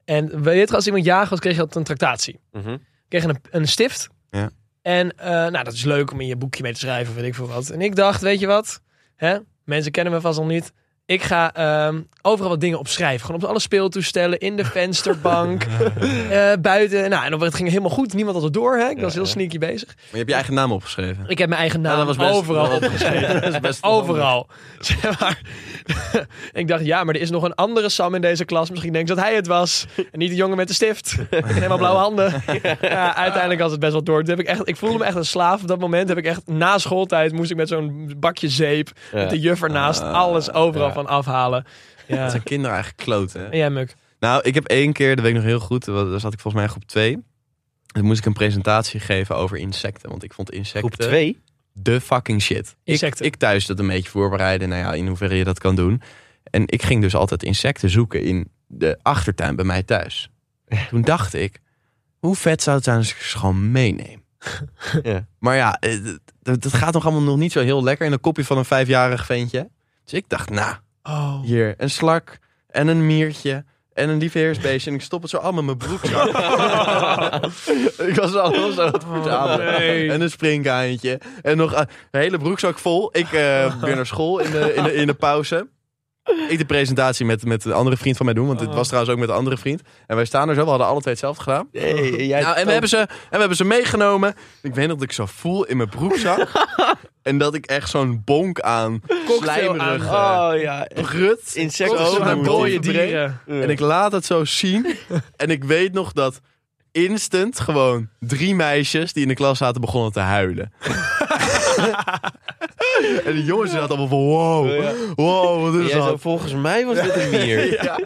Speaker 1: En weet je, als iemand jager was, kreeg je altijd een tractatie.
Speaker 2: Mhm.
Speaker 1: kreeg een, een stift.
Speaker 2: Ja.
Speaker 1: En eh, nou, dat is leuk om in je boekje mee te schrijven, weet ik veel wat. En ik dacht, weet je wat? Hè? Mensen kennen me vast nog niet. Ik ga ehm, overal wat dingen opschrijven. Gewoon op alle speeltoestellen, in de vensterbank, eh, buiten. Nou, en op- het ging helemaal goed. Niemand had het door, hè? Ik was heel sneaky bezig.
Speaker 2: Maar je hebt je eigen naam opgeschreven.
Speaker 1: Ik heb mijn eigen naam
Speaker 2: dat was best-
Speaker 1: overal
Speaker 2: dat was-
Speaker 1: opgeschreven.
Speaker 2: Dat is best
Speaker 1: Overal. Zeg maar. ik dacht, ja, maar er is nog een andere Sam in deze klas. Misschien denkt dat hij het was. En niet de jongen met de stift. En helemaal blauwe handen. Ja, uiteindelijk had het best wel door. Toen heb ik, echt, ik voelde me echt een slaaf. Op dat moment heb ik echt na schooltijd moest ik met zo'n bakje zeep.
Speaker 3: Ja.
Speaker 1: Met de juf ernaast. Alles overal
Speaker 3: ja.
Speaker 1: van afhalen.
Speaker 2: Dat
Speaker 1: Ja.
Speaker 2: zijn kinderen eigenlijk kloten. hè?
Speaker 1: En jij, Muk?
Speaker 2: Nou, ik heb één keer, dat weet ik nog heel goed, wa- daar zat ik volgens mij in groep 2. Toen moest ik een presentatie geven over insecten. Want ik vond insecten
Speaker 3: Groep 2.
Speaker 2: de fucking shit.
Speaker 1: Insecten.
Speaker 2: Ik, ik thuis dat een beetje voorbereiden. Nou ja, in hoeverre je dat kan doen. En ik ging dus altijd insecten zoeken in de achtertuin bij mij thuis. Toen dacht ik, hoe vet zou het zijn als ik ze gewoon meeneem?
Speaker 3: Ja.
Speaker 2: Maar ja, eh, d- d- dat gaat nog allemaal nog niet zo heel lekker in een kopje van een vijfjarig ventje. Dus ik dacht, nou,
Speaker 1: Oh.
Speaker 2: hier, een slak en een miertje en een lieveheersbeestje. En ik stop het zo allemaal in mijn broekzak. ik was allemaal zo aan het verzamelen.
Speaker 1: nee.
Speaker 2: En een springkaantje. En nog eh, een hele broekzak vol. Ik eh weer naar school in de, in de, in de pauze. Ik de presentatie met, met een andere vriend van mij doen. Want dit was trouwens ook met een andere vriend. En wij staan er zo. We hadden alle twee hetzelfde gedaan.
Speaker 3: jij
Speaker 2: Nou, en, we hebben ze, en we hebben ze meegenomen. Ik weet nog dat ik zo voel in mijn broekzak. en dat ik echt zo'n bonk aan slijmerig eh,
Speaker 3: Oh ja.
Speaker 2: rut.
Speaker 3: Insecten
Speaker 2: zo
Speaker 3: zijn
Speaker 2: naar
Speaker 3: een
Speaker 2: boven
Speaker 3: dode
Speaker 2: breekt. En ik laat het zo zien. en ik weet nog dat instant gewoon drie meisjes die in de klas zaten begonnen te huilen. en de jongens zaten allemaal van wow, wow, wat
Speaker 3: Jij
Speaker 2: is
Speaker 3: zo,
Speaker 2: dat?
Speaker 3: volgens mij was dit een mier.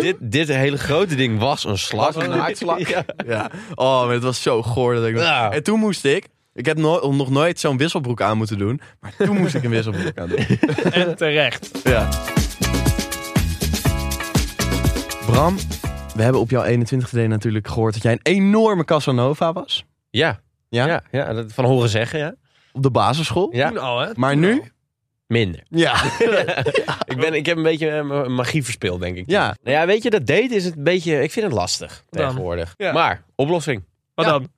Speaker 3: dit, dit hele grote ding was een slak. een naaktslak. Ja.
Speaker 2: Ja. Oh, maar het was zo goor dat ik...
Speaker 3: Ja.
Speaker 2: En toen moest ik... Ik heb no- nog nooit zo'n wisselbroek aan moeten doen. Maar toen moest ik een wisselbroek aan doen.
Speaker 1: En terecht.
Speaker 2: Ja. Bram, we hebben op jouw 21e day natuurlijk gehoord dat jij een enorme Casanova was.
Speaker 3: Ja.
Speaker 2: Ja?
Speaker 3: Ja, dat van horen zeggen, ja.
Speaker 2: Op de basisschool.
Speaker 3: Ja.
Speaker 1: Toen al, hè?
Speaker 2: Maar nu?
Speaker 3: Minder.
Speaker 2: Ja.
Speaker 3: Ik, ben, ik heb een beetje eh, mijn magie verspeeld, denk ik.
Speaker 2: Ja.
Speaker 3: Nou ja, weet je, dat date is een beetje... Ik vind het lastig
Speaker 1: Dan.
Speaker 3: tegenwoordig.
Speaker 1: Ja.
Speaker 3: Maar, oplossing.
Speaker 1: Wat
Speaker 2: Ja.
Speaker 1: dan?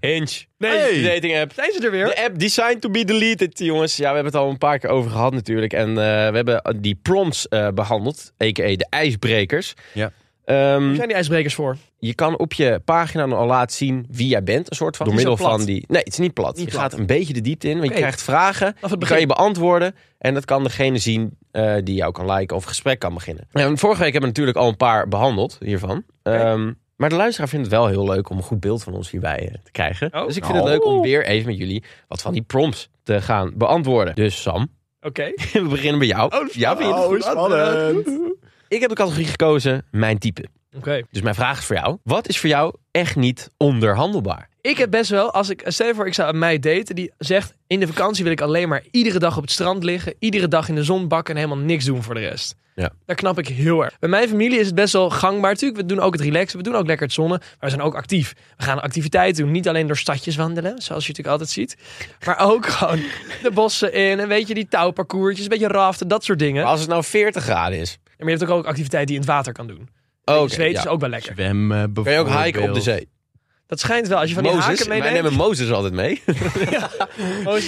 Speaker 3: Hinge.
Speaker 1: Nee.
Speaker 2: Hey.
Speaker 3: Die dating app.
Speaker 1: Zijn ze er weer?
Speaker 3: De app designed to be deleted, jongens. Ja, we hebben het al een paar keer over gehad natuurlijk. En eh, we hebben die prompts eh, behandeld, a.k.a. de ijsbrekers.
Speaker 2: Ja.
Speaker 3: Ehm,
Speaker 1: Waar zijn die ijsbrekers voor?
Speaker 3: je kan op je pagina al laten zien wie jij bent, een soort van.
Speaker 1: Door
Speaker 3: Door middel
Speaker 1: middel
Speaker 3: van
Speaker 1: plat.
Speaker 3: die... Nee, het is niet plat. je
Speaker 1: plat.
Speaker 3: gaat een beetje de diepte in, want
Speaker 1: Oké.
Speaker 3: je krijgt vragen.
Speaker 1: Af het
Speaker 3: Die kan je
Speaker 1: begin.
Speaker 3: beantwoorden en dat kan degene zien eh, die jou kan liken of een gesprek kan beginnen. En vorige week hebben we natuurlijk al een paar behandeld hiervan. Ehm, maar de luisteraar vindt het wel heel leuk om een goed beeld van ons hierbij eh, te krijgen.
Speaker 1: Oh.
Speaker 3: Dus ik vind het leuk om weer even met jullie wat van die prompts te gaan beantwoorden. Dus Sam,
Speaker 1: Oké.
Speaker 3: we
Speaker 1: Oh,
Speaker 3: Oh, beginnen bij jou. Ja, vind je het goed?
Speaker 2: Oh, spannend.
Speaker 3: Ik heb de categorie gekozen, mijn type. Dus mijn vraag is voor jou. Wat is voor jou echt niet onderhandelbaar?
Speaker 1: Ik heb best wel, als ik, stel je voor, ik zou een meid daten die zegt: In de vakantie wil ik alleen maar iedere dag op het strand liggen, iedere dag in de zon bakken en helemaal niks doen voor de rest.
Speaker 3: Ja.
Speaker 1: Daar knap ik heel erg. Bij mijn familie is het best wel gangbaar. Tuurlijk, we doen ook het relaxen, we doen ook lekker het zonnen, maar we zijn ook actief. We gaan activiteiten doen, niet alleen door stadjes wandelen, zoals je natuurlijk altijd ziet, maar ook gewoon de bossen in en weet je, die touwparcoursjes, een beetje raften, dat soort dingen.
Speaker 3: Maar als het nou 40 graden is.
Speaker 1: Maar je hebt ook, ook activiteiten die je in het water kan doen.
Speaker 3: Oh,
Speaker 1: Dus Zweden is ook wel lekker.
Speaker 2: Zwemmen
Speaker 3: Kan je ook hiken op de zee?
Speaker 1: Dat schijnt wel, als je van die
Speaker 3: Mozes,
Speaker 1: haken
Speaker 3: wij
Speaker 1: meeneemt.
Speaker 3: nemen Mozes altijd mee.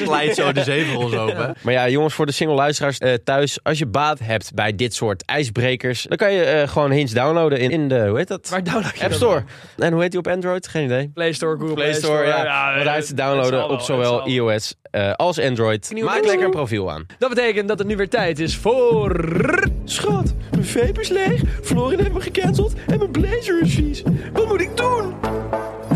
Speaker 2: Glijdt zo de zee voor ons open.
Speaker 3: Maar ja, jongens, voor de single luisteraars eh, thuis. Als je baat hebt bij dit soort ijsbrekers. dan kan je eh, gewoon Hinge downloaden in, in de. hoe heet dat?
Speaker 1: Waar download je
Speaker 3: App
Speaker 1: dat?
Speaker 3: Store. En hoe heet die op Android? Geen idee.
Speaker 1: Play Store, Google
Speaker 3: Play Store, ja.
Speaker 1: eh,
Speaker 3: Maar daar is te
Speaker 1: het zal
Speaker 3: downloaden
Speaker 1: wel,
Speaker 3: op
Speaker 1: het
Speaker 3: zowel
Speaker 1: zal
Speaker 3: iOS eh, als Android.
Speaker 1: Nieuwe
Speaker 3: Maak
Speaker 1: mensen.
Speaker 3: lekker een profiel aan.
Speaker 1: Dat betekent dat het nu weer tijd is voor.
Speaker 3: Schat, mijn vape is leeg. Florin heeft me gecanceld. En mijn blazer is vies. Wat moet ik doen?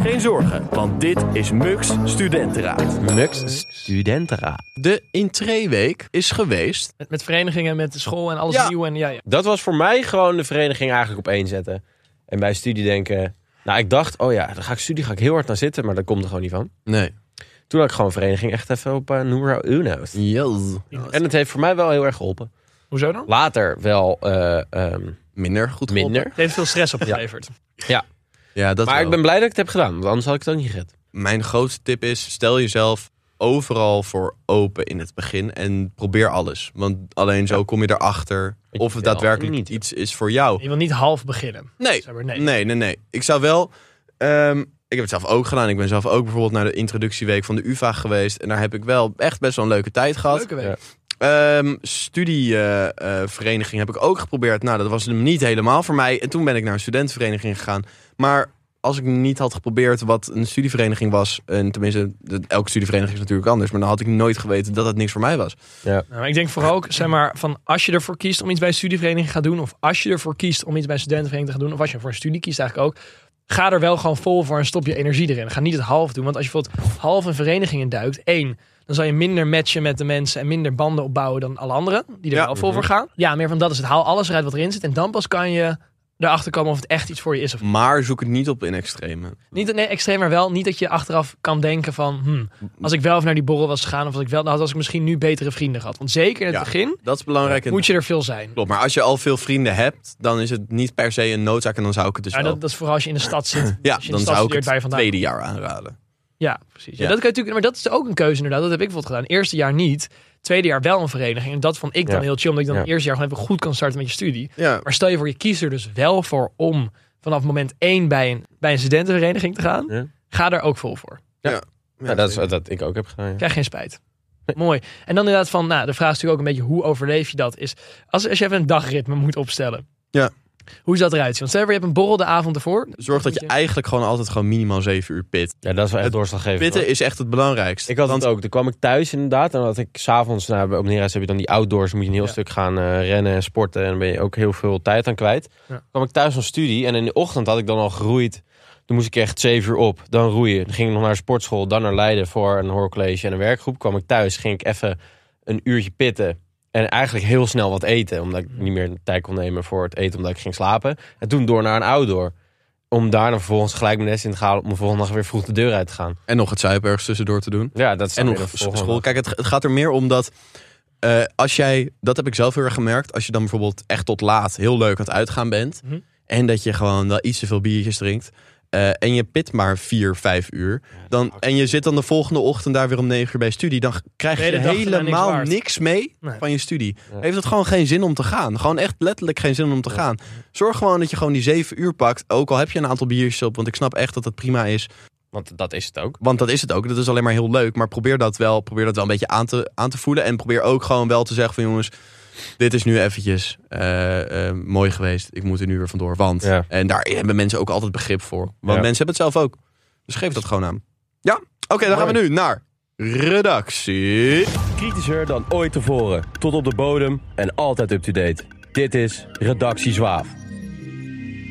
Speaker 5: Geen zorgen, want dit is Mux Studentenraad.
Speaker 3: Mux Studentera.
Speaker 2: De intreeweek is geweest.
Speaker 1: Met, met verenigingen, met de school en alles
Speaker 2: Ja.
Speaker 1: nieuw. En, ja, ja.
Speaker 3: Dat was voor mij gewoon de vereniging eigenlijk op één zetten. En bij studie denken. Nou, ik dacht, oh ja, dan ga ik studie ga ik heel hard naar zitten, maar dat komt er gewoon niet van.
Speaker 2: Nee.
Speaker 3: Toen had ik gewoon vereniging echt even op eh Numero Uno.
Speaker 2: Yes.
Speaker 3: En het heeft voor mij wel heel erg geholpen.
Speaker 1: Hoezo dan?
Speaker 3: Later wel eh, ehm,
Speaker 2: Minder goed geholpen.
Speaker 3: minder.
Speaker 1: Het heeft veel stress opgeleverd.
Speaker 2: Ja, dat
Speaker 3: Maar
Speaker 2: wel.
Speaker 3: ik ben blij dat ik het heb gedaan, want anders had ik het ook niet gered.
Speaker 2: Mijn grootste tip is, stel jezelf overal voor open in het begin. En probeer alles. Want alleen zo kom je erachter
Speaker 3: Ik
Speaker 2: of het
Speaker 3: wil
Speaker 2: daadwerkelijk
Speaker 3: niet.
Speaker 2: iets is voor jou.
Speaker 1: Je wil niet half beginnen.
Speaker 2: Nee,
Speaker 1: Zeg maar, nee.
Speaker 2: Nee, nee, nee. Ik zou wel. ehm, ik heb het zelf ook gedaan. Ik ben zelf ook bijvoorbeeld naar de introductieweek van de UVA geweest. En daar heb ik wel echt best wel een leuke tijd gehad.
Speaker 1: Leuke week.
Speaker 3: Ja.
Speaker 2: Ehm, Studievereniging heb ik ook geprobeerd. Nou, dat was hem niet helemaal voor mij. En toen ben ik naar een studentenvereniging gegaan. Maar als ik niet had geprobeerd wat een studievereniging was. En tenminste, de- elke studievereniging is natuurlijk anders. Maar dan had ik nooit geweten dat dat niks voor mij was.
Speaker 1: Nou, maar ik denk vooral ook, zeg maar, van als je ervoor kiest om iets bij een studievereniging te gaan doen. Of als je ervoor kiest om iets bij een studentenvereniging te gaan doen. Of als je voor een studie kiest eigenlijk ook. Ga er wel gewoon vol voor en stop je energie erin. Ga niet het half doen. Want als je bijvoorbeeld half een vereniging in duikt, één, dan zal je minder matchen met de mensen en minder banden opbouwen dan alle anderen die er
Speaker 2: Ja. Mhm.
Speaker 1: wel vol voor gaan. Ja, meer van dat is het. Haal alles eruit wat erin zit. En dan pas kan je erachter komen of het echt iets voor je is of
Speaker 2: Maar zoek het niet op in extreme.
Speaker 1: Niet dat- nee, extreem, maar wel niet dat je achteraf kan denken van... hmm, als ik wel even naar die borrel was gegaan... of als ik wel, dan had ik misschien nu betere vrienden gehad. Want zeker in het
Speaker 2: Ja.
Speaker 1: begin
Speaker 2: Dat is belangrijk.
Speaker 1: moet je er veel zijn.
Speaker 2: Klopt, maar als je al veel vrienden hebt, dan is het niet per se een noodzaak. En dan zou ik het dus
Speaker 1: Ja,
Speaker 2: wel
Speaker 1: dat, dat is vooral als je in de stad zit.
Speaker 2: Ja,
Speaker 1: als je in
Speaker 2: dan
Speaker 1: de stad
Speaker 2: zou ik
Speaker 1: studeert
Speaker 2: het
Speaker 1: waar je vandaan
Speaker 2: tweede jaar aanraden.
Speaker 1: Ja, precies. Ja.
Speaker 2: Ja.
Speaker 1: dat kan je natuurlijk, maar dat is ook een keuze inderdaad. Dat heb ik bijvoorbeeld gedaan. Eerste jaar niet, tweede jaar wel een vereniging. En dat vond ik dan
Speaker 3: Ja.
Speaker 1: heel chill, omdat ik dan
Speaker 3: Ja.
Speaker 1: het eerste jaar gewoon even goed kan starten met je studie.
Speaker 2: Ja.
Speaker 1: Maar stel je voor, je kiest er dus wel voor om vanaf moment één bij een, bij een studentenvereniging te gaan.
Speaker 3: Ja.
Speaker 1: Ga daar ook vol voor.
Speaker 3: Ja, dat is wat dat ik ook heb gedaan. ja.
Speaker 1: Krijg geen spijt. Mooi. En dan inderdaad van, nou, de vraag is natuurlijk ook een beetje hoe overleef je dat? Is als, als je even een dagritme moet opstellen.
Speaker 2: Ja.
Speaker 1: Hoe zou dat eruit zien? Want stel je voor, je hebt een borrel de avond ervoor.
Speaker 2: Zorg dat je eigenlijk gewoon altijd gewoon minimaal 7 uur pit.
Speaker 3: Ja, dat is wel echt
Speaker 2: Het
Speaker 3: doorslaggevend. hoor.
Speaker 2: Pitten is echt het belangrijkste.
Speaker 3: Ik had
Speaker 2: Want
Speaker 3: het ook. Toen kwam ik thuis inderdaad. En dan had ik s'avonds, nou, op Neerhuis heb je dan die outdoors. Dan moet je een heel stuk gaan eh, rennen en sporten. En dan ben je ook heel veel tijd aan kwijt.
Speaker 1: Ja.
Speaker 3: Dan kwam ik thuis van studie. En in de ochtend had ik dan al geroeid. Toen moest ik echt zeven uur op. Dan roeien. Dan ging ik nog naar de sportschool. Dan naar Leiden voor een hoorcollege en een werkgroep. Kwam ik thuis. Ging ik even een uurtje pitten. En eigenlijk heel snel wat eten. Omdat ik niet meer tijd kon nemen voor het eten. Omdat ik ging slapen. En toen door naar een outdoor. Om daarna vervolgens gelijk mijn les in te gaan. Om de volgende dag weer vroeg de deur uit te gaan.
Speaker 2: En nog het zuipen ergens tussendoor te doen.
Speaker 3: Ja, dat is
Speaker 2: En
Speaker 3: dan
Speaker 2: nog
Speaker 3: weer de
Speaker 2: s-
Speaker 3: volgende
Speaker 2: school. Kijk, het, het gaat er meer om dat eh, als jij, dat heb ik zelf heel erg gemerkt, als je dan bijvoorbeeld echt tot laat heel leuk aan het uitgaan bent.
Speaker 1: Mhm.
Speaker 2: En dat je gewoon wel iets te veel biertjes drinkt. eh, en je pit maar 4, 5 uur. Dan, en je zit dan de volgende ochtend daar weer om 9 uur bij studie. Dan g- krijg
Speaker 1: De hele
Speaker 2: je
Speaker 1: dag is bijna niks
Speaker 2: helemaal
Speaker 1: waard.
Speaker 2: niks, mee
Speaker 1: Nee.
Speaker 2: van je studie.
Speaker 3: Ja.
Speaker 2: Heeft het gewoon geen zin om te gaan. Gewoon echt letterlijk geen zin om te gaan. Zorg gewoon dat je gewoon die 7 uur pakt. Ook al heb je een aantal biertjes op. Want ik snap echt dat dat prima is.
Speaker 3: Want dat is het ook.
Speaker 2: Want dat is het ook. Dat is alleen maar heel leuk. Maar probeer dat wel, probeer dat wel een beetje aan te, aan te voelen. En probeer ook gewoon wel te zeggen van jongens, dit is nu eventjes eh, eh, mooi geweest. Ik moet er nu weer vandoor. Want.
Speaker 3: Ja.
Speaker 2: En daar hebben mensen ook altijd begrip voor. Want
Speaker 3: Ja.
Speaker 2: mensen hebben het zelf ook. Dus geef dat gewoon aan. Ja, oké, dan gaan we nu naar redactie.
Speaker 3: Kritischer dan ooit tevoren. Tot op de bodem en altijd up-to-date. Dit is Redactie Zwaaf.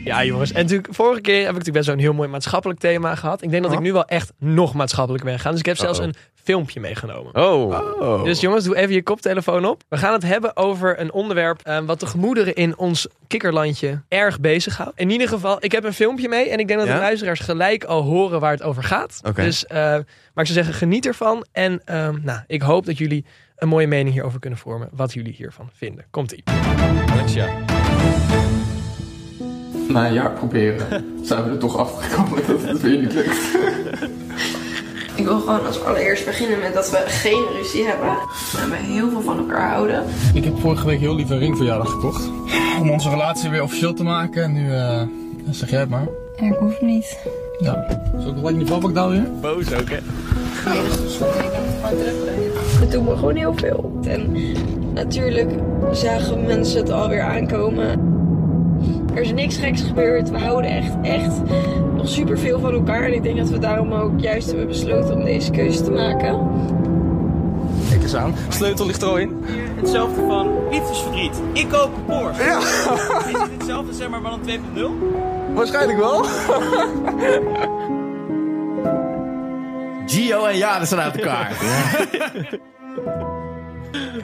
Speaker 1: Ja, jongens. En natuurlijk, vorige keer heb ik natuurlijk best wel een heel mooi maatschappelijk thema gehad. Ik denk dat ik nu wel echt nog maatschappelijk ben gegaan. Dus ik heb zelfs
Speaker 3: Uh-oh.
Speaker 1: een filmpje meegenomen.
Speaker 3: Oh.
Speaker 2: Oh.
Speaker 1: Dus jongens, doe even je koptelefoon op. We gaan het hebben over een onderwerp eh, wat de gemoederen in ons kikkerlandje erg bezighoudt. In ieder geval, ik heb een filmpje mee en ik denk dat
Speaker 2: Ja?
Speaker 1: de luisteraars gelijk al horen waar het over gaat.
Speaker 2: Oké.
Speaker 1: Dus, eh, maar ik zou zeggen, geniet ervan. En ehm, nou, ik hoop dat jullie een mooie mening hierover kunnen vormen. Wat jullie hiervan vinden. Komt-ie.
Speaker 3: Katja.
Speaker 6: Na een jaar proberen zijn we er toch afgekomen dat het weer niet lukt.
Speaker 7: Ik wil gewoon als allereerst beginnen met dat we geen ruzie hebben. En we heel veel van elkaar houden.
Speaker 6: Ik heb vorige week heel lief een ring voor jou gekocht. Om onze relatie weer officieel te maken. En nu eh, zeg jij het maar.
Speaker 8: Ik hoef niet.
Speaker 6: Ja. Zal ik nog in die valbak daar weer?
Speaker 3: Boos ook, hè?
Speaker 7: Het doet me gewoon heel veel. En natuurlijk zagen mensen het alweer aankomen. Er is niks geks gebeurd. We houden echt, echt nog superveel van elkaar. En ik denk dat we daarom ook juist hebben besloten om deze keuze te maken.
Speaker 6: Kijk eens aan. Sleutel ligt er al in.
Speaker 9: hetzelfde van liefdesverdriet. Ik koop een Porsche. Ja. Is het hetzelfde, zeg maar, maar dan 2.0?
Speaker 6: Waarschijnlijk wel.
Speaker 5: Gio en Jaren zijn uit elkaar.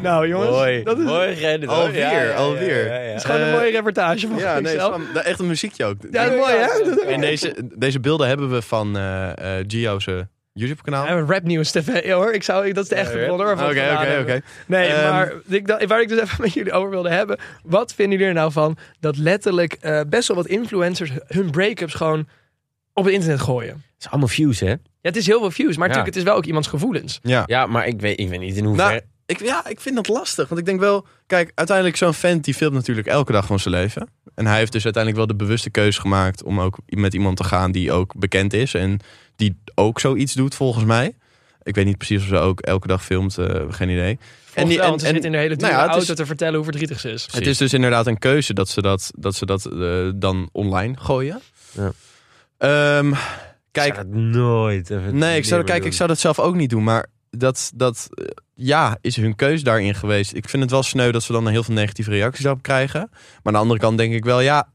Speaker 1: Nou jongens,
Speaker 3: Mooi.
Speaker 1: dat is, het
Speaker 3: Mooi gereden. hoor.
Speaker 2: Alweer,
Speaker 3: Ja, ja, ja,
Speaker 2: alweer.
Speaker 3: ja, ja.
Speaker 1: is gewoon een
Speaker 2: Eh,
Speaker 1: mooie reportage van
Speaker 2: Ja, nee,
Speaker 1: zichzelf.
Speaker 2: het is wel- echt een muziekje ook.
Speaker 1: Ja, dat is mooi hè? Dat-
Speaker 2: En deze, deze beelden hebben we van eh, eh, Gio's eh, YouTube-kanaal.
Speaker 1: Ja, Rap nieuws TV hoor. Ik zou, dat is de echte
Speaker 3: rap.
Speaker 1: bron.
Speaker 2: Oké, oké, oké.
Speaker 1: Nee,
Speaker 2: Ehm,
Speaker 1: maar ik, dacht- waar ik dus even met jullie over wilde hebben. Wat vinden jullie er nou van dat letterlijk eh, best wel wat influencers hun break-ups gewoon op het internet gooien?
Speaker 3: Het is allemaal views, hè?
Speaker 1: Ja, het is heel veel views, maar
Speaker 3: Ja.
Speaker 1: natuurlijk, het is wel ook iemands gevoelens.
Speaker 2: Ja.
Speaker 3: Ja, maar ik weet, ik weet niet in hoeverre...
Speaker 2: Nou, ik, ja, ik vind dat lastig. Want ik denk wel, kijk, uiteindelijk zo'n vent die filmt natuurlijk elke dag van zijn leven. En hij heeft dus uiteindelijk wel de bewuste keuze gemaakt om ook met iemand te gaan die ook bekend is. En die ook zoiets doet, volgens mij. Ik weet niet precies of ze ook elke dag filmt, eh, geen idee.
Speaker 1: En die,
Speaker 2: die,
Speaker 1: wel, want ze zitten in de hele
Speaker 2: nou
Speaker 1: dure
Speaker 2: ja, het
Speaker 1: auto
Speaker 2: is-
Speaker 1: te vertellen hoe verdrietig ze is.
Speaker 2: Het is dus inderdaad een keuze dat ze dat, dat, ze dat eh, dan online gooien.
Speaker 3: Ja.
Speaker 2: Ehm,
Speaker 3: Ik
Speaker 2: kijk,
Speaker 3: zou dat nooit. even
Speaker 2: Nee, ik zou,
Speaker 3: leren
Speaker 2: kijk, ik
Speaker 3: doen.
Speaker 2: zou dat zelf ook niet doen. Maar dat, dat eh, ja, is hun keus daarin geweest. Ik vind het wel sneu dat ze dan heel veel negatieve reacties daarop krijgen. Maar aan de andere kant denk ik wel, ja,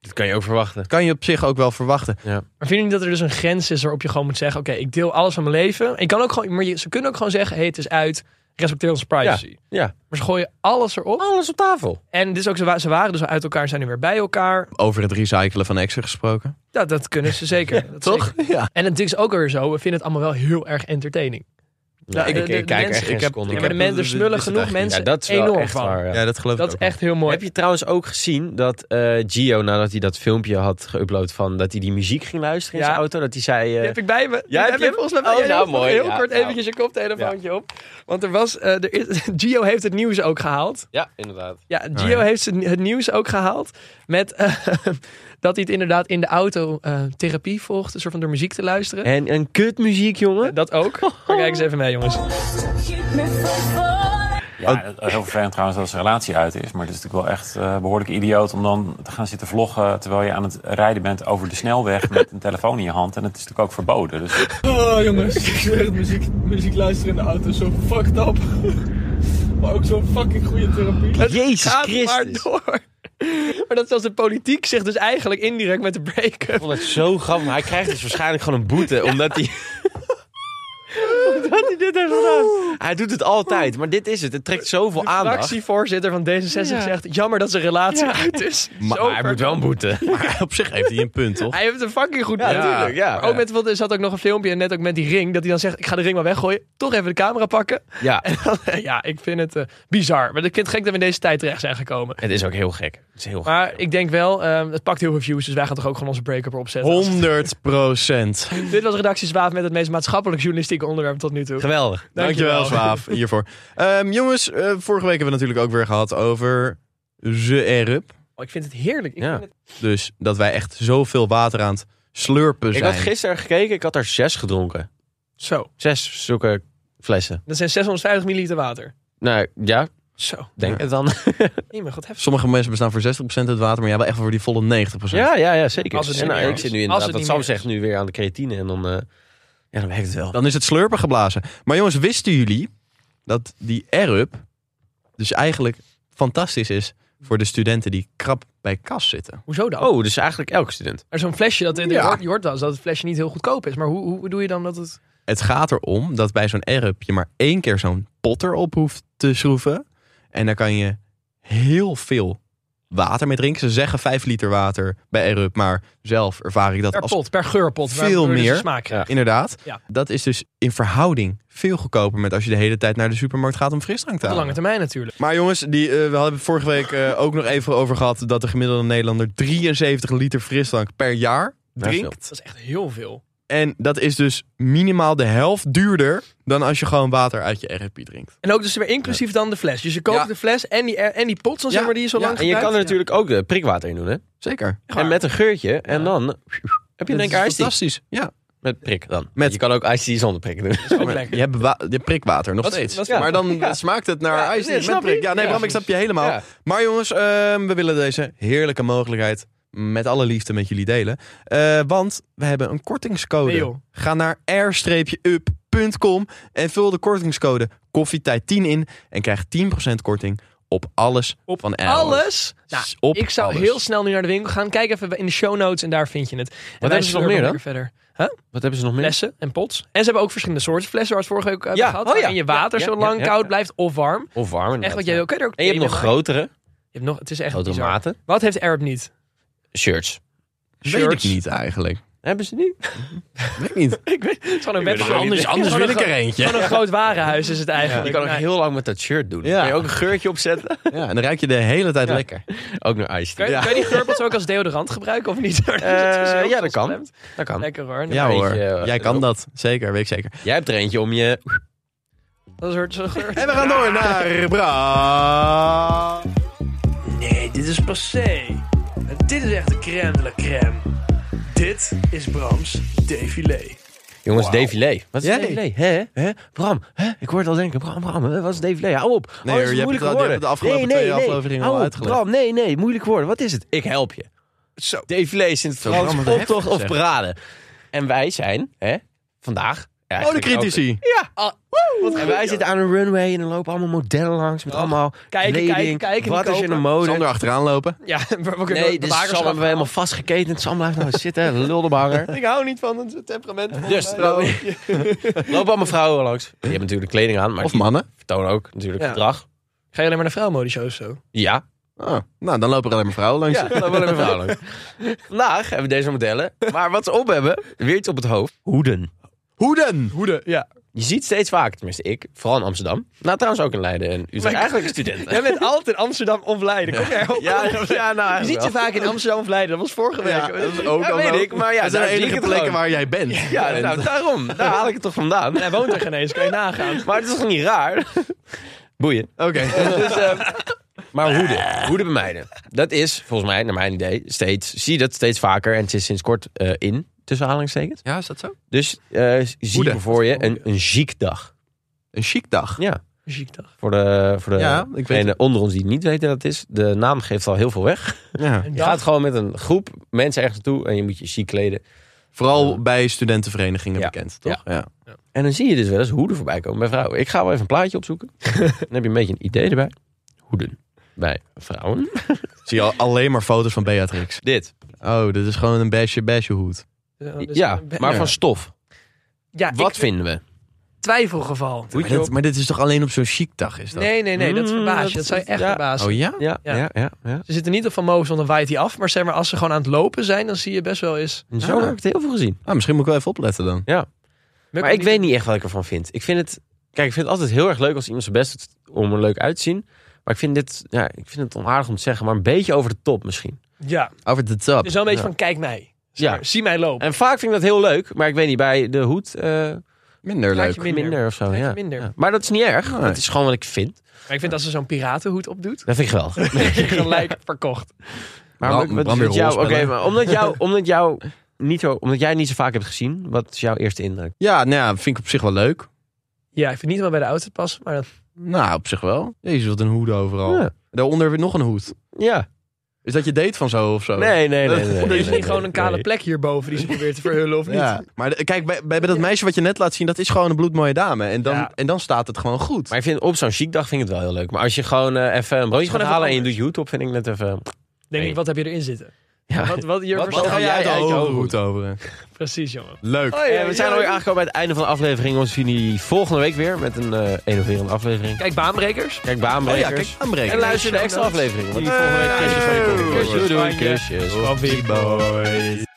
Speaker 3: Dat kan je ook verwachten.
Speaker 2: kan je op zich ook wel verwachten.
Speaker 1: Maar vinden jullie niet dat er dus een grens is waarop je gewoon moet zeggen: Oké, ik deel alles van mijn leven. Ik kan ook gewoon, maar je- ze kunnen ook gewoon zeggen: hey, het is uit. Respecteer onze privacy.
Speaker 3: Ja.
Speaker 1: Maar ze gooien alles erop.
Speaker 3: Alles op tafel.
Speaker 1: En dus ook, ze wa- ze waren dus al uit elkaar, zijn nu weer bij elkaar.
Speaker 2: Over het recyclen van exen gesproken.
Speaker 1: Ja, dat kunnen ze zeker. Dat
Speaker 2: Toch?
Speaker 1: zeker.
Speaker 2: Ja.
Speaker 1: En het is ook weer zo, we vinden het allemaal wel heel erg entertaining.
Speaker 3: Ja,
Speaker 1: de-
Speaker 3: ik,
Speaker 1: de-
Speaker 3: ik
Speaker 1: de
Speaker 3: kijk
Speaker 1: mensen-
Speaker 3: echt geen
Speaker 2: ik heb-
Speaker 3: seconde
Speaker 1: Ja,
Speaker 2: ik
Speaker 3: naar.
Speaker 1: maar de
Speaker 2: heb-
Speaker 1: mensen, er
Speaker 2: dit-
Speaker 1: smullen
Speaker 2: dit is het
Speaker 1: genoeg
Speaker 2: eigenlijk
Speaker 1: mensen
Speaker 3: Ja, dat is wel
Speaker 1: enorm
Speaker 3: echt
Speaker 1: van.
Speaker 3: waar. ja.
Speaker 2: Ja, dat geloof
Speaker 1: Dat
Speaker 2: ik
Speaker 1: is
Speaker 2: ook
Speaker 1: echt heel mooi.
Speaker 3: Heb je trouwens ook gezien dat eh, Gio, nadat hij dat filmpje had geüpload van dat hij die muziek ging luisteren in
Speaker 1: Ja.
Speaker 3: zijn auto, dat hij zei...
Speaker 1: Die
Speaker 3: eh,
Speaker 1: heb ik bij me. Die
Speaker 3: heb je
Speaker 1: heb ik
Speaker 3: hem?
Speaker 1: volgens mij bij
Speaker 3: Oh,
Speaker 1: me.
Speaker 3: nou,
Speaker 1: Heel-
Speaker 3: mooi.
Speaker 1: Heel
Speaker 3: Ja,
Speaker 1: kort
Speaker 3: nou.
Speaker 1: eventjes je koptelefoontje op. Want er was, eh, er is, Gio heeft het nieuws ook gehaald.
Speaker 3: ja, inderdaad.
Speaker 1: Ja, Gio heeft zijn- het nieuws ook gehaald. Met eh, dat hij het inderdaad in de auto eh, therapie volgt. Een soort van door muziek te luisteren.
Speaker 3: En een kutmuziek, jongen.
Speaker 1: Dat ook. Maar kijk eens even mee, jongens.
Speaker 10: Ja, dat- heel vervelend trouwens dat zijn relatie uit is. Maar het is natuurlijk wel echt eh, behoorlijk idioot om dan te gaan zitten vloggen... terwijl je aan het rijden bent over de snelweg met een telefoon in je hand. En dat is natuurlijk ook verboden. Dus
Speaker 6: Oh jongens, ik zweer het, muziek, muziek luisteren in de auto is zo fucked up. Maar ook zo'n fucking goede therapie.
Speaker 3: Jezus
Speaker 1: Gaat maar
Speaker 3: Christus.
Speaker 1: door. Maar dat zelfs de politiek zich dus eigenlijk indirect met de break-up
Speaker 3: Ik vond het zo grappig. maar Hij krijgt dus waarschijnlijk gewoon een boete, omdat hij... omdat hij dit heeft gedaan. Hij doet het altijd, maar dit is het. Het trekt zoveel aandacht.
Speaker 1: fractievoorzitter van D66 zegt: Jammer dat zijn relatie uit is.
Speaker 3: Maar,
Speaker 1: Zo
Speaker 3: hij
Speaker 1: ver-
Speaker 3: moet wel een boete.
Speaker 2: Maar op zich heeft hij een punt, toch?
Speaker 1: Hij heeft een fucking goed
Speaker 3: Ja,
Speaker 1: punt.
Speaker 3: natuurlijk. Ja,
Speaker 1: Maar ook met, want er zat ook nog een filmpje en net ook met die ring. Dat hij dan zegt: Ik ga de ring maar weggooien. Toch even de camera pakken.
Speaker 3: ja.
Speaker 1: En dan, ja, ik vind het eh, bizar. Maar ik vind het gek dat we in deze tijd terecht zijn gekomen.
Speaker 3: Het is ook heel gek. Het is heel gek.
Speaker 1: Maar ik denk wel, ehm, het pakt heel veel views. Dus wij gaan toch ook gewoon onze break-up erop zetten.
Speaker 2: 100 procent.
Speaker 1: Dit was Redactie Zwaaf met het meest maatschappelijk journalistieke onderwerp tot nu toe.
Speaker 3: Geweldig.
Speaker 2: Dankjewel, Zwaaf, hiervoor. Ehm, jongens, eh, vorige week hebben we natuurlijk ook weer gehad over ze erup.
Speaker 1: Oh, ik vind het heerlijk. Ik
Speaker 3: Ja.
Speaker 1: vind het-
Speaker 2: Dus dat wij echt zoveel water aan het slurpen
Speaker 3: Ik
Speaker 2: zijn.
Speaker 3: had gisteren gekeken, ik had er zes gedronken.
Speaker 1: Zo,
Speaker 3: Zes zulke flessen.
Speaker 1: dat zijn 650 milliliter water.
Speaker 3: Nou ja,
Speaker 1: Zo,
Speaker 3: denk het dan.
Speaker 1: nee, maar god, heftig.
Speaker 2: Sommige mensen bestaan voor 60% uit water, maar jij wel echt voor die volle 90%.
Speaker 3: Ja, ja, ja zeker.
Speaker 1: Als het
Speaker 3: En
Speaker 1: niet
Speaker 3: nou,
Speaker 1: meer
Speaker 3: ik
Speaker 1: is.
Speaker 3: zit nu
Speaker 1: Als
Speaker 3: inderdaad,
Speaker 1: het
Speaker 3: wat
Speaker 1: niet
Speaker 3: Sam
Speaker 1: meer
Speaker 3: zegt, nu weer aan de creatine. En dan, eh, ja, dan werkt het wel.
Speaker 2: Dan is het slurpen geblazen. Maar jongens, wisten jullie dat die air-up dus eigenlijk fantastisch is voor de studenten die krap bij kas zitten?
Speaker 1: Hoezo dan?
Speaker 3: Oh, dus eigenlijk elke student.
Speaker 1: Maar zo'n flesje, dat, je,
Speaker 2: Ja.
Speaker 1: hoort, je hoort wel eens dat het flesje niet heel goedkoop is. Maar hoe, hoe doe je dan dat het...
Speaker 2: Het gaat erom dat bij zo'n Arab je maar één keer zo'n potter op hoeft te schroeven. En daar kan je heel veel water mee drinken. Ze zeggen 5 liter water bij Arab, maar zelf ervaar ik dat
Speaker 1: Per
Speaker 2: als
Speaker 1: pot, per geurpot.
Speaker 2: veel meer.
Speaker 1: dus Smaak krijgt.
Speaker 2: Inderdaad.
Speaker 1: Ja.
Speaker 2: Dat is dus in verhouding veel goedkoper met als je de hele tijd naar de supermarkt gaat om frisdrank
Speaker 1: Op
Speaker 2: te
Speaker 1: de
Speaker 2: halen.
Speaker 1: lange termijn natuurlijk.
Speaker 2: Maar jongens, die, eh, we hadden het vorige week eh, ook nog even over gehad dat de gemiddelde Nederlander 73 liter frisdrank per jaar drinkt.
Speaker 1: Dat is echt heel veel.
Speaker 2: En dat is dus minimaal de helft duurder dan als je gewoon water uit je RFP drinkt.
Speaker 1: En ook dus weer inclusief dan de fles. Dus je koopt
Speaker 2: Ja.
Speaker 1: de fles en die, en die pot, dan zeg
Speaker 2: Ja,
Speaker 1: maar, die je zo
Speaker 2: ja.
Speaker 1: lang
Speaker 3: En je
Speaker 1: gebruikt.
Speaker 3: kan er natuurlijk ook eh, prikwater in doen, hè?
Speaker 2: Zeker.
Speaker 3: En met een geurtje. En dan heb je
Speaker 2: Dat
Speaker 3: denk
Speaker 2: is
Speaker 3: ik iced tea.
Speaker 2: fantastisch. Ja.
Speaker 3: Met prik dan.
Speaker 2: Met-
Speaker 3: Je kan ook iced tea zonder prik doen.
Speaker 1: Dat is ook
Speaker 2: Maar
Speaker 1: lekker.
Speaker 2: Je hebt, wa- je hebt prikwater nog
Speaker 3: Wat-
Speaker 2: steeds.
Speaker 3: wat- ja.
Speaker 2: Maar dan
Speaker 3: Ja.
Speaker 2: smaakt het naar
Speaker 3: Ja,
Speaker 2: ijs
Speaker 3: nee,
Speaker 2: niet met
Speaker 3: snap je?
Speaker 2: prik. Ja, nee,
Speaker 3: Ja.
Speaker 2: Bram, ik snap je helemaal.
Speaker 3: Ja.
Speaker 2: Maar jongens, ehm, we willen deze heerlijke mogelijkheid met alle liefde met jullie delen. Eh, want we hebben een kortingscode.
Speaker 1: Nee, joh.
Speaker 2: Ga naar r-up.com en vul de kortingscode koffietijd10 in en krijg 10% korting op alles
Speaker 1: Op
Speaker 2: van Arrow.
Speaker 1: alles. Nou,
Speaker 2: S- op
Speaker 1: ik zou
Speaker 2: alles.
Speaker 1: heel snel nu naar de winkel gaan. Kijk even in de show notes en daar vind je het. En wij
Speaker 3: hebben ze nog
Speaker 1: slurpen
Speaker 3: meer dan?
Speaker 1: lekker Verder.
Speaker 3: Wat hebben ze nog meer?
Speaker 1: Flessen en pots. En ze hebben ook verschillende soorten flessen, waar we het vorige week eh, hebben
Speaker 3: Ja,
Speaker 1: gehad.
Speaker 3: oh ja.
Speaker 1: En je water
Speaker 3: Ja,
Speaker 1: zo
Speaker 3: ja,
Speaker 1: lang
Speaker 3: ja,
Speaker 1: koud
Speaker 3: ja.
Speaker 1: blijft of warm.
Speaker 3: Of warm
Speaker 1: Echt
Speaker 3: inderdaad,
Speaker 1: wat jij
Speaker 3: ja.
Speaker 1: ook. Kan je er ook
Speaker 3: En je hebt
Speaker 1: thee
Speaker 3: nog
Speaker 1: mee maken?
Speaker 3: grotere,
Speaker 1: Je hebt nog, het is echt
Speaker 3: grotere
Speaker 1: bizar.
Speaker 3: maten.
Speaker 1: Wat heeft Arab niet?
Speaker 3: Shirts.
Speaker 2: Weet ik
Speaker 1: Shirts.
Speaker 2: niet eigenlijk.
Speaker 3: Hebben ze niet?
Speaker 2: Weet ik niet.
Speaker 1: Ik weet het is gewoon een web.
Speaker 2: Anders, anders wil ik er eentje.
Speaker 1: Gewoon een groot warenhuis is het eigenlijk.
Speaker 3: Je kan ook
Speaker 1: Nou,
Speaker 3: heel lang met dat shirt doen.
Speaker 2: Ja.
Speaker 3: Kan je ook een geurtje opzetten?
Speaker 2: Ja, en dan ruik je de hele tijd
Speaker 3: Ja.
Speaker 2: lekker.
Speaker 3: ook naar ijs.
Speaker 1: Kan je,
Speaker 3: Ja. Eh,
Speaker 1: kan je die geurpels ook als deodorant gebruiken of niet? Daar is het dus heel
Speaker 3: ja, dat kan.
Speaker 1: transparant.
Speaker 3: Dat kan.
Speaker 1: Lekker hoor.
Speaker 2: Ja
Speaker 3: weet
Speaker 2: hoor,
Speaker 3: je, eh,
Speaker 2: jij kan
Speaker 3: erop.
Speaker 2: dat. Zeker, weet ik zeker.
Speaker 3: Jij hebt er eentje om je...
Speaker 1: Dat is een soort- zo'n geur.
Speaker 2: En we gaan door naar Bra.
Speaker 6: Nee, dit is passé. En dit is echt de crème de la crème. Dit is Brams défilé.
Speaker 3: Jongens, défilé. Wat is
Speaker 2: Jij.
Speaker 3: défilé? Hè? Hè? Bram, hè? ik hoor het al denken. Bram, Bram, hè? wat is défilé? Hou op.
Speaker 2: Nee,
Speaker 3: Oh, dat is
Speaker 2: hoor, je hebt het
Speaker 3: moeilijke
Speaker 2: al- je
Speaker 3: woorden.
Speaker 2: hebt het de afgelopen
Speaker 3: nee, nee,
Speaker 2: twee
Speaker 3: nee.
Speaker 2: afleveringen al
Speaker 3: Hou op,
Speaker 2: uitgelegd.
Speaker 3: Bram, nee, nee, moeilijke woorden. Wat is het? Ik help je.
Speaker 2: Zo.
Speaker 3: Défilé is in het
Speaker 2: Bram,
Speaker 3: Frans
Speaker 2: wat heftig
Speaker 3: optocht of
Speaker 2: zeg.
Speaker 3: braden. En wij zijn, hè, vandaag...
Speaker 2: Oh, de
Speaker 3: eigenlijk ook-
Speaker 2: critici.
Speaker 3: Ja. en wij zitten aan een runway en er lopen allemaal modellen langs met allemaal
Speaker 1: kijken,
Speaker 3: kleding.
Speaker 1: kijken, kijken,
Speaker 3: wat is
Speaker 1: kopen.
Speaker 3: in de mode?
Speaker 2: Sander achteraan lopen.
Speaker 1: Ja, we kunnen
Speaker 3: nee,
Speaker 1: de
Speaker 3: dus Sam
Speaker 1: bewakerschap-
Speaker 3: hebben we helemaal vastgeketend. Sam blijft nou zitten, luldebanger.
Speaker 1: Ik hou niet van het temperament. van
Speaker 3: Dus
Speaker 1: mij.
Speaker 3: lopen allemaal vrouwen langs. Die hebben natuurlijk kleding aan, maar
Speaker 2: Of
Speaker 3: die
Speaker 2: mannen.
Speaker 3: vertonen ook natuurlijk
Speaker 1: Ja.
Speaker 3: gedrag.
Speaker 1: Ga je alleen maar naar vrouwenmodeshows of zo?
Speaker 3: Ja,
Speaker 2: Oh, nou, dan lopen er alleen maar vrouwen langs.
Speaker 3: ja dat wil ik vrouwen langs. Vandaag hebben we deze modellen. Maar wat ze op hebben, weer iets op het hoofd. Hoeden.
Speaker 2: Hoeden.
Speaker 1: Hoeden, ja.
Speaker 3: Je ziet steeds vaker, tenminste ik, vooral in Amsterdam. Nou, trouwens ook in Leiden en Utrecht. Eigenlijk studenten.
Speaker 1: Jij bent altijd Amsterdam of Leiden. Kom jij op.
Speaker 3: Ja, ja, nou
Speaker 1: Je ziet
Speaker 3: eigenlijk
Speaker 1: ze
Speaker 3: wel.
Speaker 1: vaak in Amsterdam of Leiden. Dat was vorige week.
Speaker 2: Ja, dat is ook
Speaker 3: Ja,
Speaker 2: allemaal-
Speaker 3: weet ik, maar ja,
Speaker 2: dat zijn
Speaker 3: daar
Speaker 2: de
Speaker 3: zie ik
Speaker 2: enige
Speaker 3: het
Speaker 2: plekken
Speaker 3: gewoon.
Speaker 2: waar jij bent.
Speaker 3: Ja, nou daarom. Daar haal ik het toch vandaan.
Speaker 1: Hij woont er geen eens, kan je nagaan.
Speaker 3: Maar het is toch niet raar? Boeien.
Speaker 2: Oké.
Speaker 3: Dus, eh, maar hoeden. Hoeden bij meiden. Dat is volgens mij, naar mijn idee, steeds. Zie je dat steeds vaker. En het is sinds kort eh, in, tussen aanhalingstekens.
Speaker 2: Ja, is dat zo?
Speaker 3: Dus eh, zie
Speaker 2: Hoeden.
Speaker 3: je voor je een, een chic dag.
Speaker 2: Een chic dag.
Speaker 3: Ja.
Speaker 1: Ziek toch?
Speaker 3: Voor de, voor de
Speaker 2: Ja, ik weet
Speaker 3: degenen
Speaker 2: het.
Speaker 3: onder ons die het niet weten dat is. De naam geeft al heel veel weg.
Speaker 2: Ja.
Speaker 3: Je gaat gewoon met een groep mensen ergens naartoe. En je moet je chic kleden.
Speaker 2: Vooral bij studentenverenigingen
Speaker 3: Ja.
Speaker 2: bekend, toch? Ja.
Speaker 3: En dan zie je dus wel eens hoeden voorbij komen bij vrouwen. Ik ga wel even een plaatje opzoeken. dan heb je een beetje een idee erbij. Hoeden bij vrouwen.
Speaker 2: Zie je al- alleen maar foto's van Beatrix.
Speaker 3: Dit.
Speaker 2: Oh, dit is gewoon een besje besje hoed.
Speaker 3: ja, maar van stof.
Speaker 1: dus ja,
Speaker 3: Wat
Speaker 1: ik-
Speaker 3: vinden we?
Speaker 1: twijfelgeval.
Speaker 2: Maar dit, maar dit is toch alleen op zo'n chic dag, is dat?
Speaker 1: Nee, nee, nee, dat
Speaker 3: Mm,
Speaker 1: verbaas
Speaker 3: dat-
Speaker 1: je. Dat zou je echt
Speaker 3: ja.
Speaker 1: verbazen.
Speaker 2: Oh ja?
Speaker 3: Ja,
Speaker 1: Ja.
Speaker 3: ja, ja. ja.
Speaker 1: Ze zitten niet op van Moos, want dan waait hij af. Maar zeg maar, als ze gewoon aan het lopen zijn, dan zie je best wel eens...
Speaker 3: En Zo
Speaker 2: Ah.
Speaker 3: heb ik het heel veel gezien.
Speaker 2: Ah, misschien moet ik wel even opletten dan.
Speaker 3: Maar ik weet niet echt wat ik ervan vind. Ik vind het, kijk, ik vind het altijd heel erg leuk als iemand zijn best doet om er leuk uit te zien. Maar ik vind dit, ja, ik vind het onaardig om te zeggen, maar een beetje over de top misschien.
Speaker 1: Ja,
Speaker 2: Over de top.
Speaker 1: dus wel een beetje
Speaker 3: Ja.
Speaker 1: van kijk mij. Zeg
Speaker 3: Ja.
Speaker 1: maar, Zie mij lopen.
Speaker 3: En vaak vind ik dat heel leuk, maar ik weet niet, bij de hoed eh
Speaker 2: Minder
Speaker 1: Laat
Speaker 2: leuk.
Speaker 1: je
Speaker 3: minder. of zo.
Speaker 1: Lijkt je
Speaker 3: Ja.
Speaker 1: minder.
Speaker 3: Ja. Maar dat is niet erg,
Speaker 2: Nee.
Speaker 3: dat is gewoon wat ik vind.
Speaker 1: Maar ik vind als ze zo'n piratenhoed opdoet,
Speaker 3: Dat vind ik wel.
Speaker 1: gelijk verkocht.
Speaker 3: Maar
Speaker 2: Bram-
Speaker 3: wat- wat
Speaker 2: Bram
Speaker 3: is
Speaker 2: weer
Speaker 3: met jou? Oké,
Speaker 2: rolspellen.
Speaker 3: maar omdat jou, omdat jou niet zo, omdat jij niet zo vaak hebt gezien, wat is jouw eerste indruk?
Speaker 2: Ja, nou ja, vind ik op zich wel leuk.
Speaker 1: Ja, ik vind niet wel bij de auto passen, maar dat...
Speaker 2: Nou, op zich wel. Jezus, wat een hoed overal.
Speaker 3: Ja.
Speaker 2: Daaronder weer nog een hoed.
Speaker 3: Ja.
Speaker 2: Is dat je date van zo of zo?
Speaker 3: Nee, nee, nee. nee, nee,
Speaker 1: Er
Speaker 3: nee,
Speaker 1: is
Speaker 3: nee.
Speaker 1: niet gewoon een kale plek hierboven die ze probeert te verhullen, of niet?
Speaker 2: Ja. Maar de- kijk, bij, bij bij dat meisje wat je net laat zien, dat is gewoon een bloedmooie dame. En dan,
Speaker 1: Ja.
Speaker 2: en dan staat het gewoon goed.
Speaker 3: Maar ik vind op zo'n chic dag vind ik het wel heel leuk. Maar als je gewoon eh, even een broodje
Speaker 1: Gewoon
Speaker 3: gaat
Speaker 1: even
Speaker 3: halen en je
Speaker 1: anders.
Speaker 3: doet YouTube, vind ik net even. Eh,
Speaker 1: Denk
Speaker 3: Nee.
Speaker 1: ik, wat heb je erin zitten? Wat, wat, Jurgen,
Speaker 3: Wat ga jij uit je hogerhoed
Speaker 2: over?
Speaker 1: Precies, jongen.
Speaker 2: Leuk.
Speaker 1: Hoi,
Speaker 3: Eh, we zijn
Speaker 1: hoi,
Speaker 3: alweer
Speaker 1: hoi.
Speaker 3: aangekomen bij het einde van de aflevering. Ons zien jullie volgende week weer met een eh innoverende aflevering.
Speaker 1: Kijk, baanbrekers.
Speaker 3: Kijk, baanbrekers.
Speaker 2: Oh ja, kijk, baanbrekers.
Speaker 3: En luister de extra aflevering. Want die volgende week kusjes van je podcast. Doei, doei, kusjes.
Speaker 2: Boys.